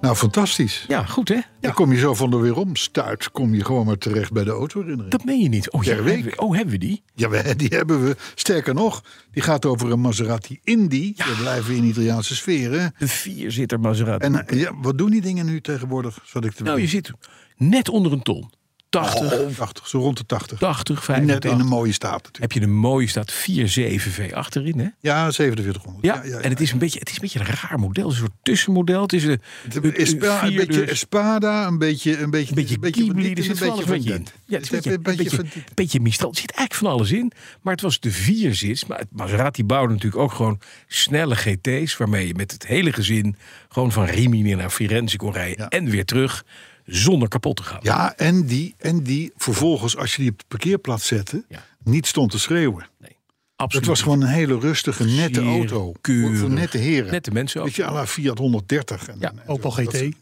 Nou, fantastisch.
Ja, goed hè?
Dan kom je zo van de weer om. Stuit kom je gewoon maar terecht bij de autoherinnering.
Dat meen je niet. Oh, ja,
Per week.
hebben we- oh hebben we die?
Ja, we- die hebben we. Sterker nog, die gaat over een Maserati Indy. We blijven in Italiaanse sferen.
De vierzitter Maserati.
En eh, ja, wat doen die dingen nu tegenwoordig? Zat ik te
nou, je zit net onder een ton. 80,
Oh, 80, zo rond de 80.
80,
Net
85.
in een mooie staat natuurlijk.
Heb je een mooie staat 4.7 V8 erin, hè?
Ja, 4700.
Ja, en het is, een beetje, het is een beetje een raar model. Een soort tussenmodel. Het is een,
Het is Spa- een beetje Espada, een beetje... Een beetje,
dus- Een beetje
van
Ghibli, er
dit en
zit van alles wat je in.
dat.
Ja, het
Het
is
heeft
een beetje, een beetje,
van dit.
een beetje Mistral. Er zit eigenlijk van alles in. Maar het was de vierzits. Maar het Maserati bouwde natuurlijk ook gewoon snelle GT's... waarmee je met het hele gezin gewoon van Rimini naar Firenze kon rijden...
Ja.
en weer terug zonder kapot te gaan.
Ja, en die, en die vervolgens, als je die op de parkeerplaats zette,
Ja.
niet stond te schreeuwen. Het
Absoluut.
was gewoon een hele rustige, nette
Zeer
auto. Voor,
keurig.
voor nette heren.
Nette mensen ook.
Weet je, à la Fiat 130. En,
Ja,
en zo.
Opel
Dat is-
GT.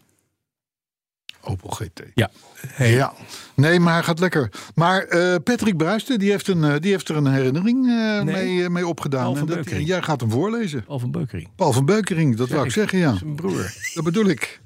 Opel GT.
Ja.
Ja, nee, maar hij gaat lekker. Maar eh, Patrick Bruisten, die heeft, een, eh, die heeft er een herinnering eh, mee, eh, mee
Paul
opgedaan.
Oh, van
En dat,
Beukering.
jij gaat hem voorlezen.
Al van Beukering.
Paul van Beukering, dat wou ik
<laughs>
zeggen, ja.
Zijn broer.
Dat bedoel ik.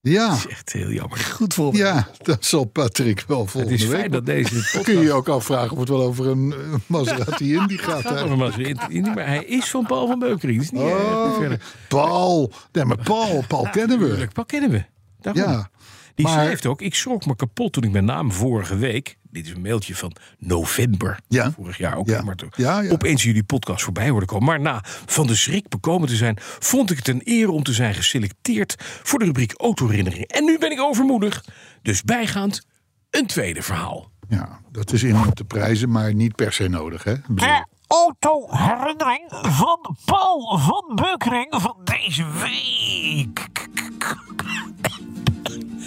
Ja,
Dat is echt heel jammer.
Goed voor.
ja, dat zal Patrick wel
Het
volgende
is
week
fijn dat deze
Dan kun je
podcast...
je ook afvragen of het wel over een eh, Maserati Indy gaat.
gaat
hè?
over Maserati Indy, Maar hij is van Paul van Beukering. Dat is niet eh, niet
Oh,
verder.
Paul. Nee, maar Paul. Paul kennen we.
Tuurlijk, Paul kennen we. Daarom.
Ja.
Die
Maar-
schrijft ook: Ik schrok me kapot toen ik mijn naam vorige week. Dit is een mailtje van november.
Ja.
Vorig jaar ook.
Ja.
Maar toen,
Ja, ja.
Opeens jullie podcast voorbij hoorde komen. Maar na van de schrik bekomen te zijn, vond ik het een eer om te zijn geselecteerd voor de rubriek Autoherinnering. En nu ben ik overmoedig. Dus bijgaand een tweede verhaal.
Ja, dat is in om te prijzen, maar niet per se nodig. Hè? Ik bedoel,
De autoherinnering van Paul van Beukering van deze week.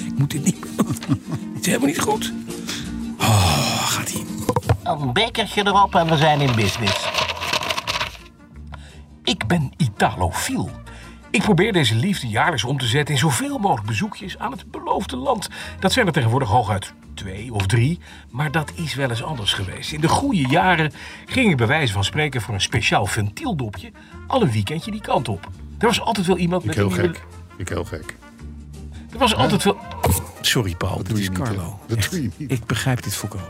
Ik moet dit niet. <laughs> het is helemaal niet goed. Oh, gaat ie.
Een bekertje erop en we zijn in business.
Ik ben Italofiel. Ik probeer deze liefde jaarlijks om te zetten in zoveel mogelijk bezoekjes aan het beloofde land. Dat zijn er tegenwoordig hooguit twee of drie, maar dat is wel eens anders geweest. In de goede jaren ging ik bij wijze van spreken voor een speciaal ventieldopje al een weekendje die kant op. Er was altijd wel iemand
ik
met
heel
een nieuwe-
gek. Ik heel gek.
Er was altijd wel. Sorry Paul, dit
doe
is
je niet,
Carlo.
hè? Dat doe je niet.
Ik begrijp dit volkomen.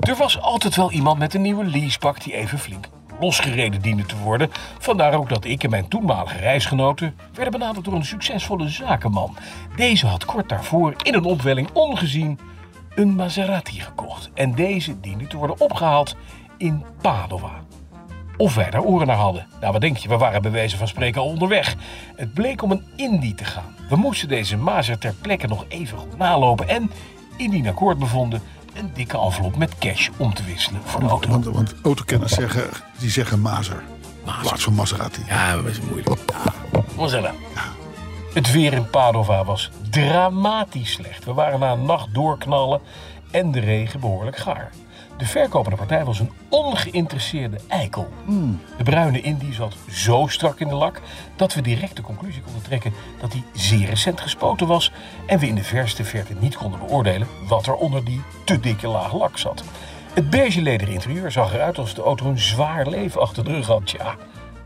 Er was altijd wel iemand met een nieuwe leasepak die even flink losgereden diende te worden. Vandaar ook dat ik en mijn toenmalige reisgenoten werden benaderd door een succesvolle zakenman. Deze had kort daarvoor in een opwelling ongezien een Maserati gekocht. En deze diende te worden opgehaald in Padova. Of wij daar oren naar hadden. Nou, wat denk je? We waren bij wijze van spreken al onderweg. Het bleek om een Indie te gaan. We moesten deze mazer ter plekke nog even goed nalopen. En, indien akkoord bevonden, een dikke
Oh,
envelop met cash om te wisselen voor de auto.
Want, want autokenners zeggen, die zeggen mazer. In plaats van Maserati.
Ja, dat is moeilijk.
Marcella. Het weer in Padova was dramatisch slecht. We waren na een nacht doorknallen en de regen behoorlijk gaar. De verkopende partij was een ongeïnteresseerde eikel. De bruine Indie zat zo strak in de lak dat we direct de conclusie konden trekken dat hij zeer recent gespoten was en we in de verste verte niet konden beoordelen wat er onder die te dikke laag lak zat. Het beige lederen interieur zag eruit alsof de auto een zwaar leven achter de rug had. Tja,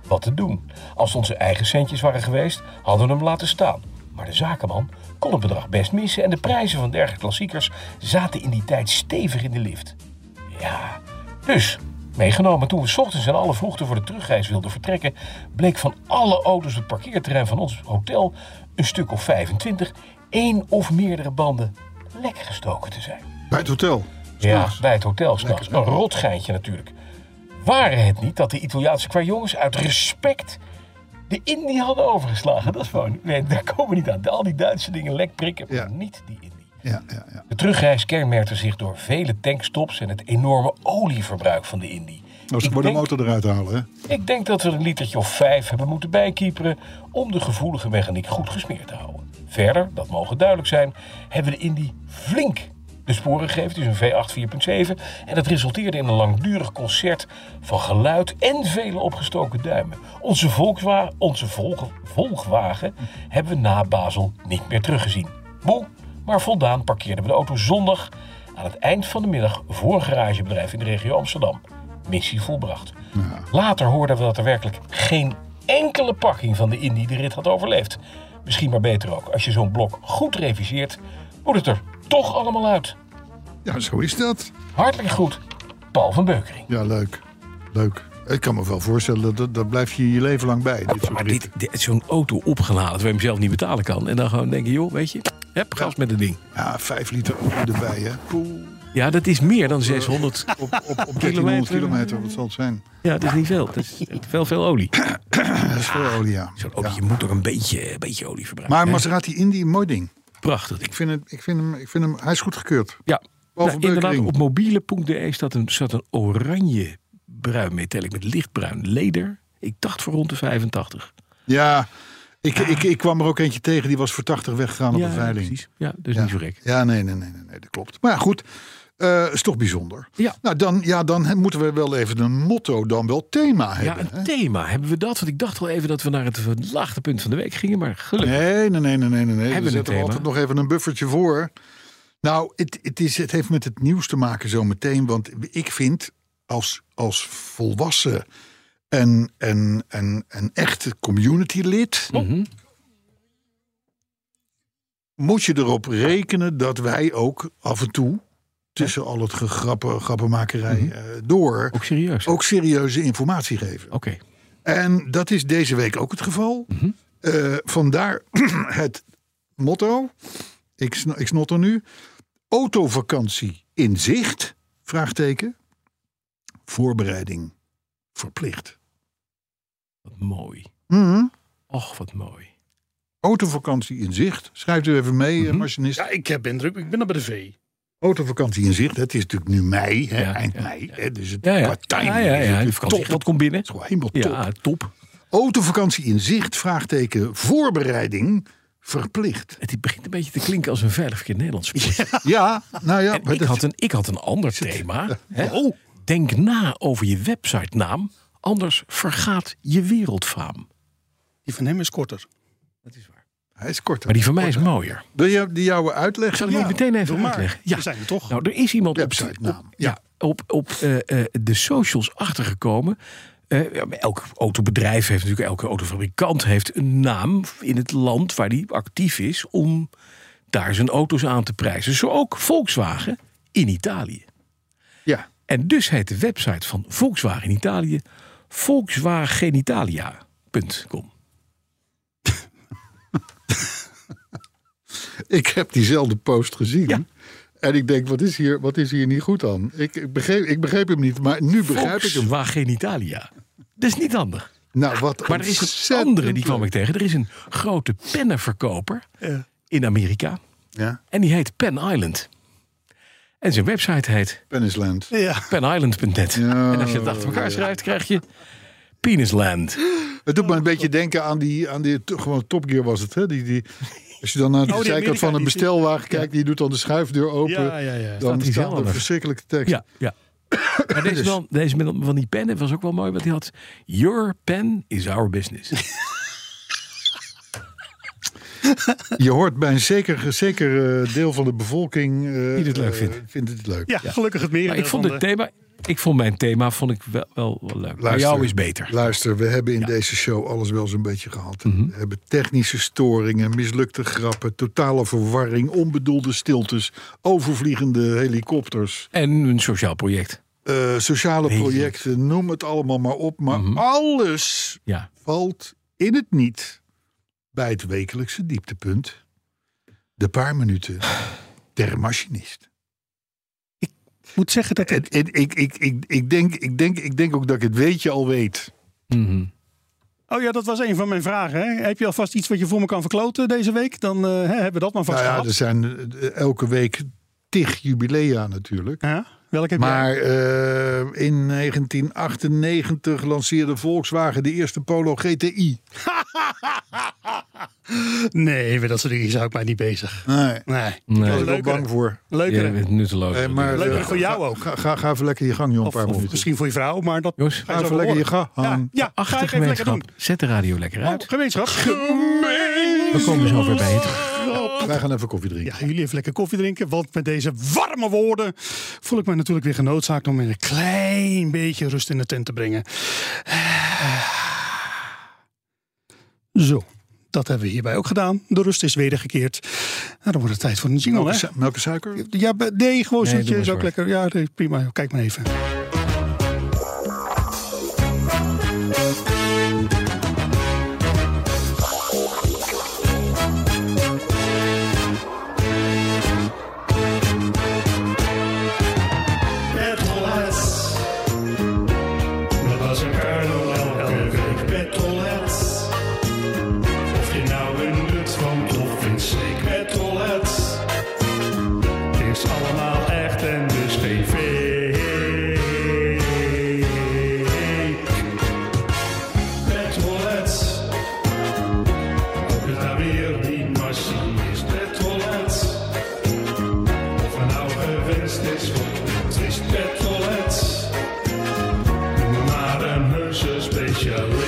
wat te doen. Als het onze eigen centjes waren geweest, hadden we hem laten staan. Maar de zakenman kon het bedrag best missen en de prijzen van dergelijke klassiekers zaten in die tijd stevig in de lift. Ja, dus meegenomen toen we 's ochtends in alle vroegte voor de terugreis wilden vertrekken, bleek van alle auto's op het parkeerterrein van ons hotel een stuk of 25 één of meerdere banden lek gestoken te zijn.
Bij het hotel.
Ja, bij het hotel s'nachts. Een rotgeintje natuurlijk. Waren het niet dat de Italiaanse kwajongens uit respect de Indie hadden overgeslagen? Dat is gewoon, nee, daar komen we niet aan. Al die Duitse dingen lek prikken, maar
Ja.
niet die Indie.
Ja, ja, ja.
De terugreis kenmerkte zich door vele tankstops en het enorme olieverbruik van de Indie.
Nou, ze
Ik
moeten de
denk-
motor eruit halen, hè?
ik denk dat we er een litertje of vijf hebben moeten bijkieperen om de gevoelige mechaniek goed gesmeerd te houden. Verder, dat mogen duidelijk zijn, hebben we de Indy flink de sporen gegeven, dus een V8 4.7. En dat resulteerde in een langdurig concert van geluid en vele opgestoken duimen. Onze, Volkswa onze Volg- Volkswagen hebben we na Basel niet meer teruggezien. Boe, maar voldaan parkeerden we de auto zondag aan het eind van de middag voor een garagebedrijf in de regio Amsterdam missie volbracht. Later hoorden we dat er werkelijk geen enkele pakking van de Indie de rit had overleefd. Misschien maar beter ook. Als je zo'n blok goed reviseert, moet het er toch allemaal uit.
Ja, zo is dat.
Hartelijk groet, Paul van Beukering.
Ja, leuk. Leuk. Ik kan me wel voorstellen, dat- dat, dat blijf je je leven lang bij. Dit soort
Maar
ritten.
dit, dit- zo'n auto opgeladen, dat we hem zelf niet betalen kan. En dan gewoon denken, joh, weet je, heb gas met het ding.
Ja, vijf liter olie erbij, hè? Poeh.
Ja, dat is meer dan 600.
<laughs> Op, op, op 1300 kilometer, wat zal het zijn?
Ja, dat is niet veel. Dat is veel, veel olie.
Dat is veel olie, ja.
Zo'n auto,
Ja.
je moet toch een beetje, een beetje olie verbruiken.
Maar
hè?
Maserati Indy, mooi ding.
Prachtig.
Ik vind, het, ik, vind hem, ik vind hem, hij is goed gekeurd.
Ja, nou,
Beukering.
inderdaad, op mobiele.de staat een, staat een oranje bruin metallic met lichtbruin leder. Ik dacht voor rond de 85.
Ja, ik, ik, ik kwam er ook eentje tegen, die was voor 80 weggegaan op
ja,
een veiling.
precies. Ja, dus
Ja.
niet zo gek.
Ja, nee, nee, nee, nee, nee, dat klopt. Maar ja, goed, eh, is toch bijzonder.
Ja.
Nou, dan, ja, dan he- moeten we wel even een motto, dan wel thema
Ja,
hebben.
een
hè?
thema. Hebben we dat? Want ik dacht wel even dat we naar het laagtepunt van de week gingen, maar gelukkig.
Nee, nee, nee, nee, nee, nee.
Hebben
nee. We
we een
zetten er
thema?
altijd nog even een buffertje voor. Nou, het, het, is, het heeft met het nieuws te maken zo meteen. Want ik vind, als, als volwassen en, en, en, en echte community-lid...
Mhm.
moet je erop rekenen dat wij ook af en toe... tussen al het gegrappen, grappenmakerij
Mhm.
eh, door...
Ook serieus.
ook serieuze informatie geven.
Oké.
En dat is deze week ook het geval.
Mhm.
Eh, vandaar <clears throat> het motto. Ik, sn- ik snotter nu. Autovakantie in zicht? Vraagteken. Voorbereiding verplicht.
Wat mooi.
Mhm.
Och, wat mooi.
Autovakantie in zicht. Schrijft u even mee,
Mhm.
eh, machinist.
Ja, ik heb indruk. Ik ben er bij de V.
Autovakantie in zicht. Het is natuurlijk nu mei, hè,
Ja,
eind
ja,
mei. Hè, dus het
Ja, ja.
qua timing
ja, ja, ja.
is het
De
natuurlijk
vakantie,
top.
dat komt binnen.
Het is gewoon helemaal top.
Ja, top.
Autovakantie in zicht? Vraagteken. Voorbereiding verplicht.
Het begint een beetje te klinken als een veilig verkeer Nederlands. sport.
Ja, nou ja.
En
maar
ik,
dat-
had een, ik had een ander thema. hè. Denk na over je websitenaam, anders vergaat je wereldfaam.
Die van hem is korter.
Hij is korter.
Maar die van mij is mooier.
Wil je die jouwe uitleggen?
Zal ik die meteen even uitleggen?
We zijn er toch.
Nou, er is iemand op,
Websitenaam,
op- ja, op, op eh, eh, de socials achtergekomen. Eh, ja, maar elk autobedrijf heeft natuurlijk, elke autofabrikant heeft een naam in het land waar die actief is om daar zijn auto's aan te prijzen. Zo ook Volkswagen in Italië.
Ja.
En dus heet de website van Volkswagen in Italië volkswagenitalia.com.
Ik heb diezelfde post gezien.
Ja.
En ik denk, wat is hier, wat is hier niet goed aan? Ik, ik, begreep, ik begreep hem niet, maar nu begrijp ik hem.
Volkswagen Italia. Dat is niet handig.
Nou, wat
Maar er is een
ontzettend
andere, die kwam
leuk.
ik tegen. Er is een grote pennenverkoper
Eh,
in Amerika.
Ja,
En die heet Pen Island. En zijn website heet
Pennisland.
Ja.
penisland.net.
Ja,
en als je het achter elkaar schrijft, krijg je
Penisland.
Het doet me een beetje denken aan die, aan die to- gewoon Top Gear was het. Hè? Die, die, als je dan naar de
Oh, die
zijkant van een
Amerika, die-
bestelwagen kijkt, die doet dan de schuifdeur open.
Ja, ja, ja.
Dan
Staat die
staat
zelf
er
er.
verschrikkelijke tekst.
Ja, ja. Maar deze, wel, deze met, van die pen was ook wel mooi, want hij had... Your pen is our business.
Je hoort bij een zeker, zeker eh, deel van de bevolking... eh,
Die dit leuk
eh,
vindt.
vindt het leuk.
Ja, gelukkig het meer.
Maar Nou, ik vond het thema... Ik vond mijn thema vond ik wel, wel, wel leuk. Maar
Luister,
jou is beter. Mhm.
Luister, we hebben in deze show alles wel zo'n beetje gehad. We hebben technische storingen, mislukte grappen, totale verwarring, onbedoelde stiltes, overvliegende helikopters,
En een sociaal project.
eh, sociale projecten, noem het allemaal maar op. Maar alles
Ja.
valt in het niet bij het wekelijkse dieptepunt. De paar minuten ter machinist.
moet zeggen dat
En,
het...
en ik, ik, ik, ik, denk, ik, denk, ik denk ook dat ik het weetje al weet.
Mhm.
Oh ja, dat was een van mijn vragen. Hè? Heb je alvast iets wat je voor me kan verkloten deze week? Dan eh, hè, hebben we dat maar vast
Nou ja,
gehad.
er zijn eh, elke week tig jubilea natuurlijk.
Ja, welke heb jij?
Maar eh, in 1998 lanceerde Volkswagen de eerste Polo GTI.
Nee, met dat soort dingen zou ik mij niet bezig.
Nee,
Nee.
daar was ik wel
Leukere.
bang voor.
Ja,
Leukere.
het nutteloos.
Eh, maar,
Leuker
eh,
voor jou
ga-
ook.
Ga, ga, ga even lekker je gang, joh, een
Of,
paar
of
minuten.
misschien voor je vrouw, maar dat...
Jongens,
ga
Ga
je zo
even lekker je
horen.
gang.
Ja, ja
eh,
ga ik
Achtige
even lekker
gemeenschap.
doen.
Zet de radio lekker
Oh,
uit.
gemeenschap.
We komen zo weer bij je terug.
Wij gaan even koffie drinken.
Ja, jullie even lekker koffie drinken. Want met deze warme woorden voel ik mij natuurlijk weer genoodzaakt om weer een klein beetje rust in de tent te brengen. Eh. Zo, dat hebben we hierbij ook gedaan. De rust is wedergekeerd. Nou, dan wordt het tijd voor een jingle,
Melk en
hè?
su- melk en suiker?
Ja, be- nee, gewoon
Nee, doe
zoetje
maar
is ook
zwart.
lekker. Ja, nee, prima. Kijk maar even.
Petrolheads. Dat was een Carlo elke week Petrolheads. Of je nou een nut van of vindt, steek Petrolheads. Het is allemaal echt en dus geen fake. Petrolheads. Ook het nou weer die machine is Petrolheads. Of er nou gewenst is, want het is petrolets. Noem me maar een heuse specialist.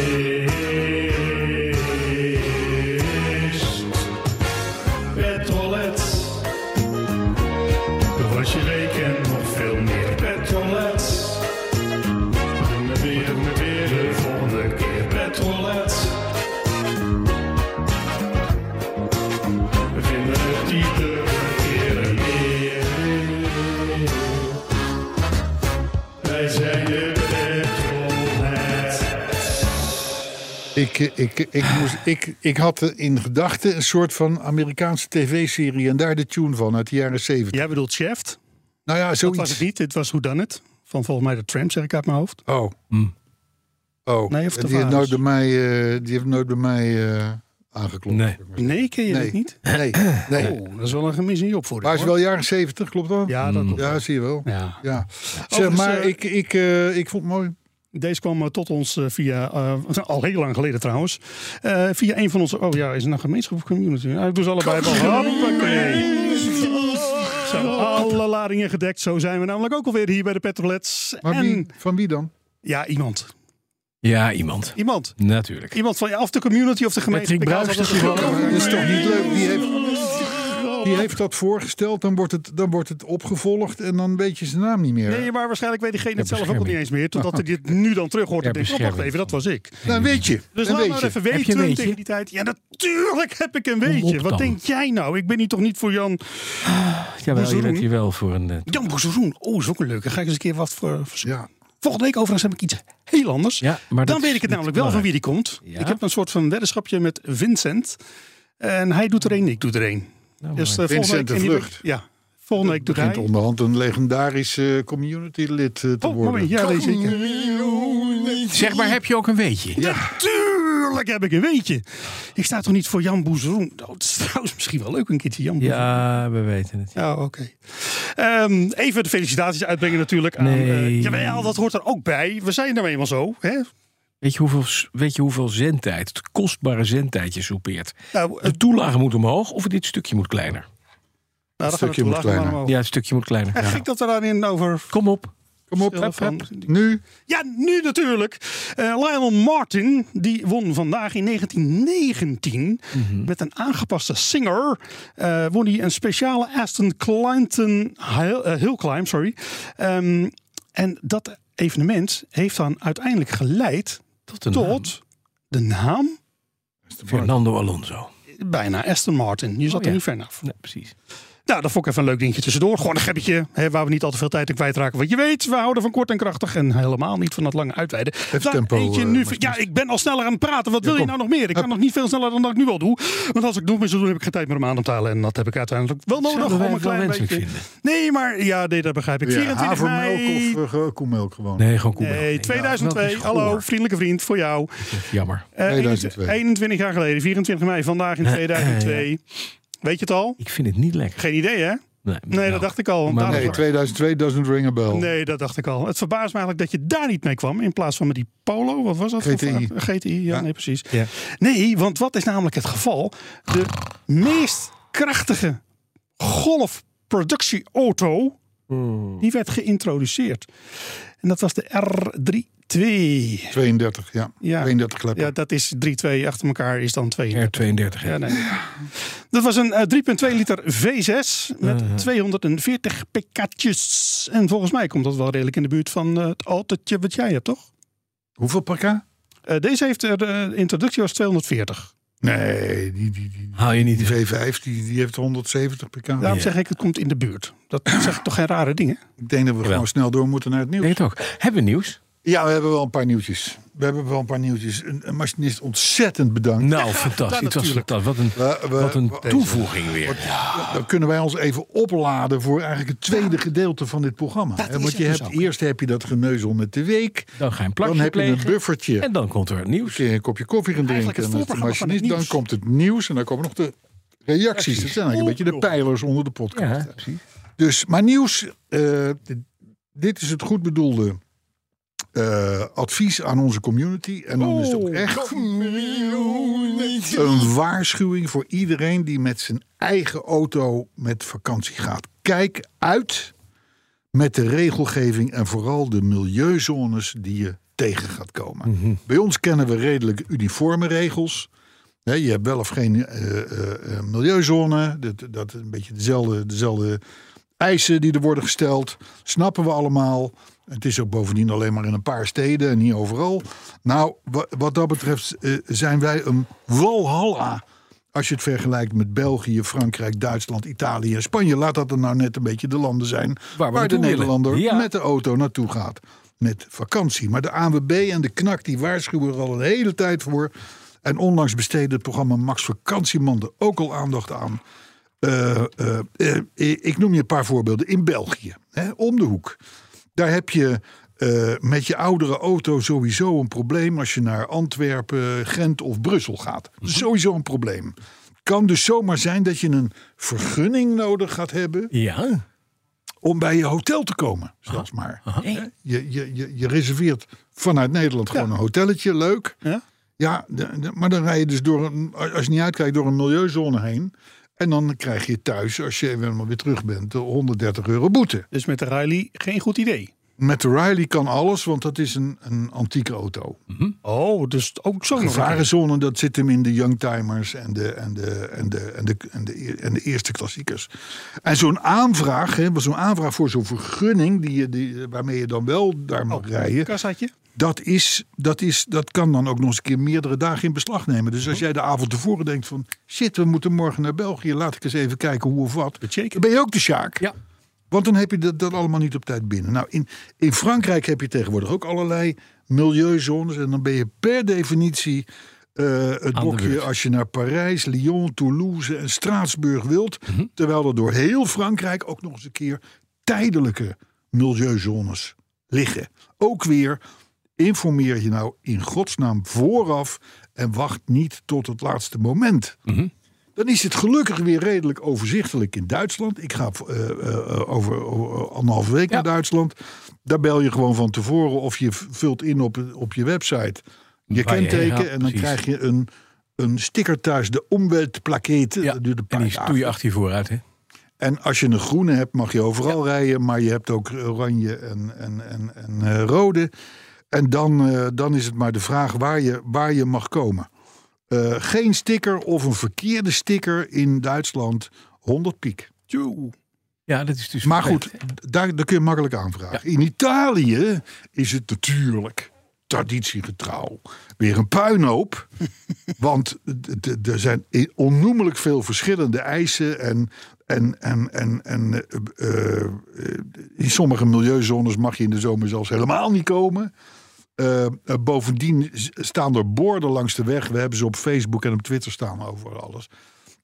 Petrolets. Dat was je week en nog veel meer petrolets. Doe me weer, doe me weer de volgende keer petrolets. We vinden het iedere keer een eer. Wij zijn de petrolheads.
Ik, eh, ik, ik, moest, ik, ik had in gedachten een soort van Amerikaanse tv-serie. En daar de tune van uit de jaren 70.
Jij bedoelt chef?
Nou ja,
Dat was het
zoiets.
niet. Dit was Hoe Dan Het. Van volgens mij de tram, zeg ik uit mijn hoofd.
Oh. Oh.
Nee, of de
die, heeft nooit
vaders.
bij mij, eh, die heeft nooit bij mij eh, aangeklopt.
Nee.
Nee, ken je
Nee.
dit niet?
Nee. nee.
Oh, dat is wel een gemis in je opvoeding.
Maar het is
hoor.
wel jaren 70, klopt dat?
Ja, dat klopt.
Ja, zie je wel.
Ja.
Ja. Zeg,
Overigens,
maar
eh,
ik, ik, eh, ik vond het mooi.
Deze kwam eh, tot ons eh, via, eh, <laughs> al heel lang geleden trouwens, eh, via een van onze, oh ja, is het nou gemeenschap of community? Nou, ik doe ze allebei wel. Hoppakee. Zo, alle ladingen gedekt, zo zijn we namelijk ook alweer hier bij de Petrolets.
Maar wie,
en,
van wie dan?
ja, iemand.
Ja, iemand.
Iemand.
Natuurlijk.
Iemand van, ja, of de community of de gemeente.
Patrick
Ik haal
Bruijs
dat
is eh,
altijd
er
goed.
Dat is toch niet leuk? Die heeft, die heeft dat voorgesteld, dan wordt, het, dan wordt het opgevolgd en dan weet je zijn naam niet meer.
Nee, maar waarschijnlijk weet diegene het zelf ook al niet
bescherming.
eens meer. Totdat hij dit nu dan terug hoort.
Ja,
en denkt, oh, wacht
bescherming.
even, dat was ik.
Dan Nou, weet je.
Dus
dan
laat
weet
maar
je.
even
Heb je een
weten
weetje?
tegen die tijd. Ja, natuurlijk heb ik een
Kom
weetje.
op
Wat
dan.
denk jij nou? Ik ben hier toch niet voor Jan...
Jawel, je
Boezeroen.
bent hier wel voor een... eh,
Jan Boezeroen. Oh, is ook een leuke. Ga ik eens een keer wat voor... voor-
Ja.
Volgende week overigens heb ik iets heel anders.
Ja, maar
Dan
dat
weet
is
ik het
niet
namelijk wel van wie die komt.
Ja.
Ik heb een soort van weddenschapje met Vincent. En hij doet er één, ik doe er één.
nou,
Dus, eh,
maar-
volgende
Vincent
week,
de
en die week-
Vlucht.
Ja, volgende week doet
begint
hij...
onderhand een legendarisch community lid eh, te
Oh,
worden.
mooi. Ja, nee, zeker.
Zeg maar, heb je ook een weetje?
Tuurlijk heb ik een weetje. Ik sta toch niet voor Jan Boezeroen? Nou, het is <laughs> trouwens misschien wel leuk een keertje Jan Boezeroen.
Ja, we weten het.
Ja, oké. Ehm, even de felicitaties uitbrengen natuurlijk. Aan,
Nee.
eh, jawel, dat hoort er ook bij. We zijn nou eenmaal zo. Hè?
Weet je hoeveel, s- weet je hoeveel zendtijd, het kostbare zendtijd je soupeert?
Nou,
De
het
toelage moet omhoog of dit stukje moet kleiner?
nou,
stukje
daar gaan we toe,
moet
laten we maar
kleiner.
omhoog.
Ja, het stukje moet kleiner.
Echt
Ja.
gek dat we daarin over
Kom op.
Kom op,
Stil
hep,
van-
hep. nu.
Ja, nu natuurlijk. Eh, Lionel Martin, die won vandaag in 1919
Mhm.
met een aangepaste singer. eh, won hij een speciale Aston Clinton Hill, eh, Hill Climb. Sorry. Ehm, en dat evenement heeft dan uiteindelijk geleid
Tot een
tot de naam
Fernando Alonso.
bijna Aston Martin. Je zat
Oh, ja.
er niet ver af.
Ja, precies.
Nou, dat vond ik even een leuk dingetje tussendoor. Gewoon een gebbetje, hè, waar we niet al te veel tijd in kwijtraken. Want je weet, we houden van kort en krachtig en helemaal niet van dat lange uitweiden. Daar
tempo,
eentje
eh,
nu,
maar
ja, ik ben al sneller aan het praten. Wat wil je
kom.
nou nog meer? Ik kan nog niet veel sneller dan dat ik nu wel doe. Want als ik nog meer zou doen, heb ik geen tijd meer om aan te talen. En dat heb ik uiteindelijk wel nodig
Zouden wij
om een
het wel
klein
wenselijk
beetje...
vinden?
Nee, maar ja, nee, dat begrijp ik.
Ja,
24
havermelk
mei...
of eh, ge- koemelk gewoon.
Nee, gewoon Koeman.
Nee, 2002. Hallo, vriendelijke vriend, voor jou.
Jammer.
Eh,
2002.
21 jaar geleden, 24 mei, vandaag in 2002. Weet je het al?
Ik vind het niet lekker. nou.
Geen idee, hè? Nee, dat dacht ik al.
Maar
Daarom-
Nee, 2002 doesn't ring a bell.
Nee, dat dacht ik al. Het verbaast me eigenlijk dat je daar niet mee kwam. In plaats van met die Polo, wat was eh, dat? voor
GTI.
vraag? GTI, ja,
Ja.
nee, precies.
Ja.
Nee, want wat is namelijk het geval? De meest krachtige golfproductieauto... die werd geïntroduceerd. En dat was de R32.
32, ja.
Ja.
32 klep.
Ja, dat is 3-2 achter elkaar is dan 2.
R32.
Ja, nee. Dat was een eh, 3,2 liter V6 met
Mhm.
240 pk'tjes. En volgens mij komt dat wel redelijk in de buurt van eh, het autootje wat jij hebt, toch?
Hoeveel pk?
Eh, deze heeft, eh, de introductie was 240.
Nee, die, die, die,
Haal je
die
niet.
V5 die, die heeft 170 pk.
Daarom zeg ik, het komt in de buurt. Dat zeg ik toch geen rare dingen?
Ik denk dat we gewoon snel door moeten naar het nieuws.
Nee, het ook. Hebben we nieuws?
Ja, we hebben wel een paar nieuwtjes. We hebben wel een paar nieuwtjes. Een, een machinist ontzettend bedankt.
Nou, fantastisch. Het was
natuurlijk.
fantastisch. Wat een,
We- we-
wat een
we-
toevoeging weer.
Dan kunnen wij ons even opladen voor eigenlijk het tweede gedeelte van dit programma. hè? Want je hebt, eerst heb je dat geneuzel met de week.
Dan ga je een plakje
Dan heb je een
plegen.
buffertje.
En dan komt er het nieuws.
Kun je een kopje koffie gaan
Eigenlijk
drinken.
het
en met de
voorprogramma van
machinist.
het
Dan
nieuws.
komt het nieuws en dan komen nog de reacties. Dat zijn eigenlijk een beetje de pijlers onder de podcast.
Ja,
hè?
precies.
Dus, maar nieuws, eh, d- dit is het goed bedoelde eh, advies aan onze community. En dan is het ook echt een waarschuwing voor iedereen die met zijn eigen auto met vakantie gaat. Kijk uit met de regelgeving en vooral de milieuzones die je tegen gaat komen. Bij ons kennen we redelijk uniforme regels. Hè, je hebt wel of geen eh, eh, eh, milieuzone. Dat, dat is een beetje dezelfde, dezelfde eisen die er worden gesteld. Snappen we allemaal. Het is ook bovendien alleen maar in een paar steden en niet overal. Nou, wa- wat dat betreft eh, zijn wij een walhalla. Als je het vergelijkt met België, Frankrijk, Duitsland, Italië en Spanje. Laat dat er nou net een beetje de landen zijn
Waar
waar,
we
de
naartoe willen.
Nederlander
Ja.
met de auto naartoe gaat. Met vakantie. Maar de ANWB en de KNAK die waarschuwen er al een hele tijd voor. En onlangs besteedde het programma Max Vakantieman er ook al aandacht aan. Eh, eh, eh, ik noem je een paar voorbeelden. In België, hè, om de hoek. Daar heb je eh, met je oudere auto sowieso een probleem als je naar Antwerpen, Gent of Brussel gaat. Sowieso een probleem. Kan dus zomaar zijn dat je een vergunning nodig gaat hebben
Ja.
om bij je hotel te komen, zelfs maar. Je, je, je, je reserveert vanuit Nederland gewoon een hotelletje, leuk.
Ja.
Ja, de- de- maar dan rij je dus door een, als je niet uitkijkt, door een milieuzone heen. En dan krijg je thuis, als je helemaal weer terug bent, de 130 euro boete.
Dus met de Riley geen goed idee.
Met de Riley kan alles, want dat is een, een antieke auto.
Oh, dus ook zo nog een keer.
Gevarenzone, dat zit hem in de youngtimers en de, en de, en de, en de, en de, eer- en de eerste klassiekers. En zo'n aanvraag, hè, zo'n aanvraag voor zo'n vergunning die je, die, waarmee je dan wel daar mag rijden.
Kassaatje?
dat, is, dat, is, dat kan dan ook nog eens een keer meerdere dagen in beslag nemen. Dus als jij de avond tevoren denkt van... shit, we moeten morgen naar België, laat ik eens even kijken hoe of wat.
Bechecken.
Dan ben je ook de Sjaak.
Ja.
Want dan heb je dat, dat allemaal niet op tijd binnen. Nou, in, in Frankrijk heb je tegenwoordig ook allerlei milieuzones. En dan ben je per definitie eh, het
de
blokje
beurt.
als je naar Parijs, Lyon, Toulouse en Straatsburg wilt.
Mhm.
Terwijl er door heel Frankrijk ook nog eens een keer tijdelijke milieuzones liggen. Ook weer, informeer je nou in godsnaam vooraf en wacht niet tot het laatste moment. Dan is het gelukkig weer redelijk overzichtelijk in Duitsland. Ik ga eh, eh, over, over anderhalve week naar Duitsland. Daar bel je gewoon van tevoren of je v- vult in op, op je website. je
Waar je heen
kenteken
gaat,
en dan
precies.
krijg je een, een sticker thuis, de omweltplakete.
Ja,
Dat duurt een
en
paar
die
dagen.
doe je achter je vooruit, hè?
En als je een groene hebt, mag je overal rijden. Maar je hebt ook oranje en, en, en, en eh, rode. En dan, eh, dan is het maar de vraag waar je, waar je mag komen. Eh, geen sticker of een verkeerde sticker in Duitsland. 100 piek.
Ja, dat is dus.
Maar
verplicht,
goed, daar, daar kun je makkelijk aanvragen. In Italië is het natuurlijk traditiegetrouw weer een puinhoop. Want d- d- er zijn i- onnoemelijk veel verschillende eisen. En, en, en, en, en eh, eh, in sommige milieuzones mag je in de zomer zelfs helemaal niet komen. Eh, eh, bovendien s- staan er borden langs de weg. We hebben ze op Facebook en op Twitter staan over alles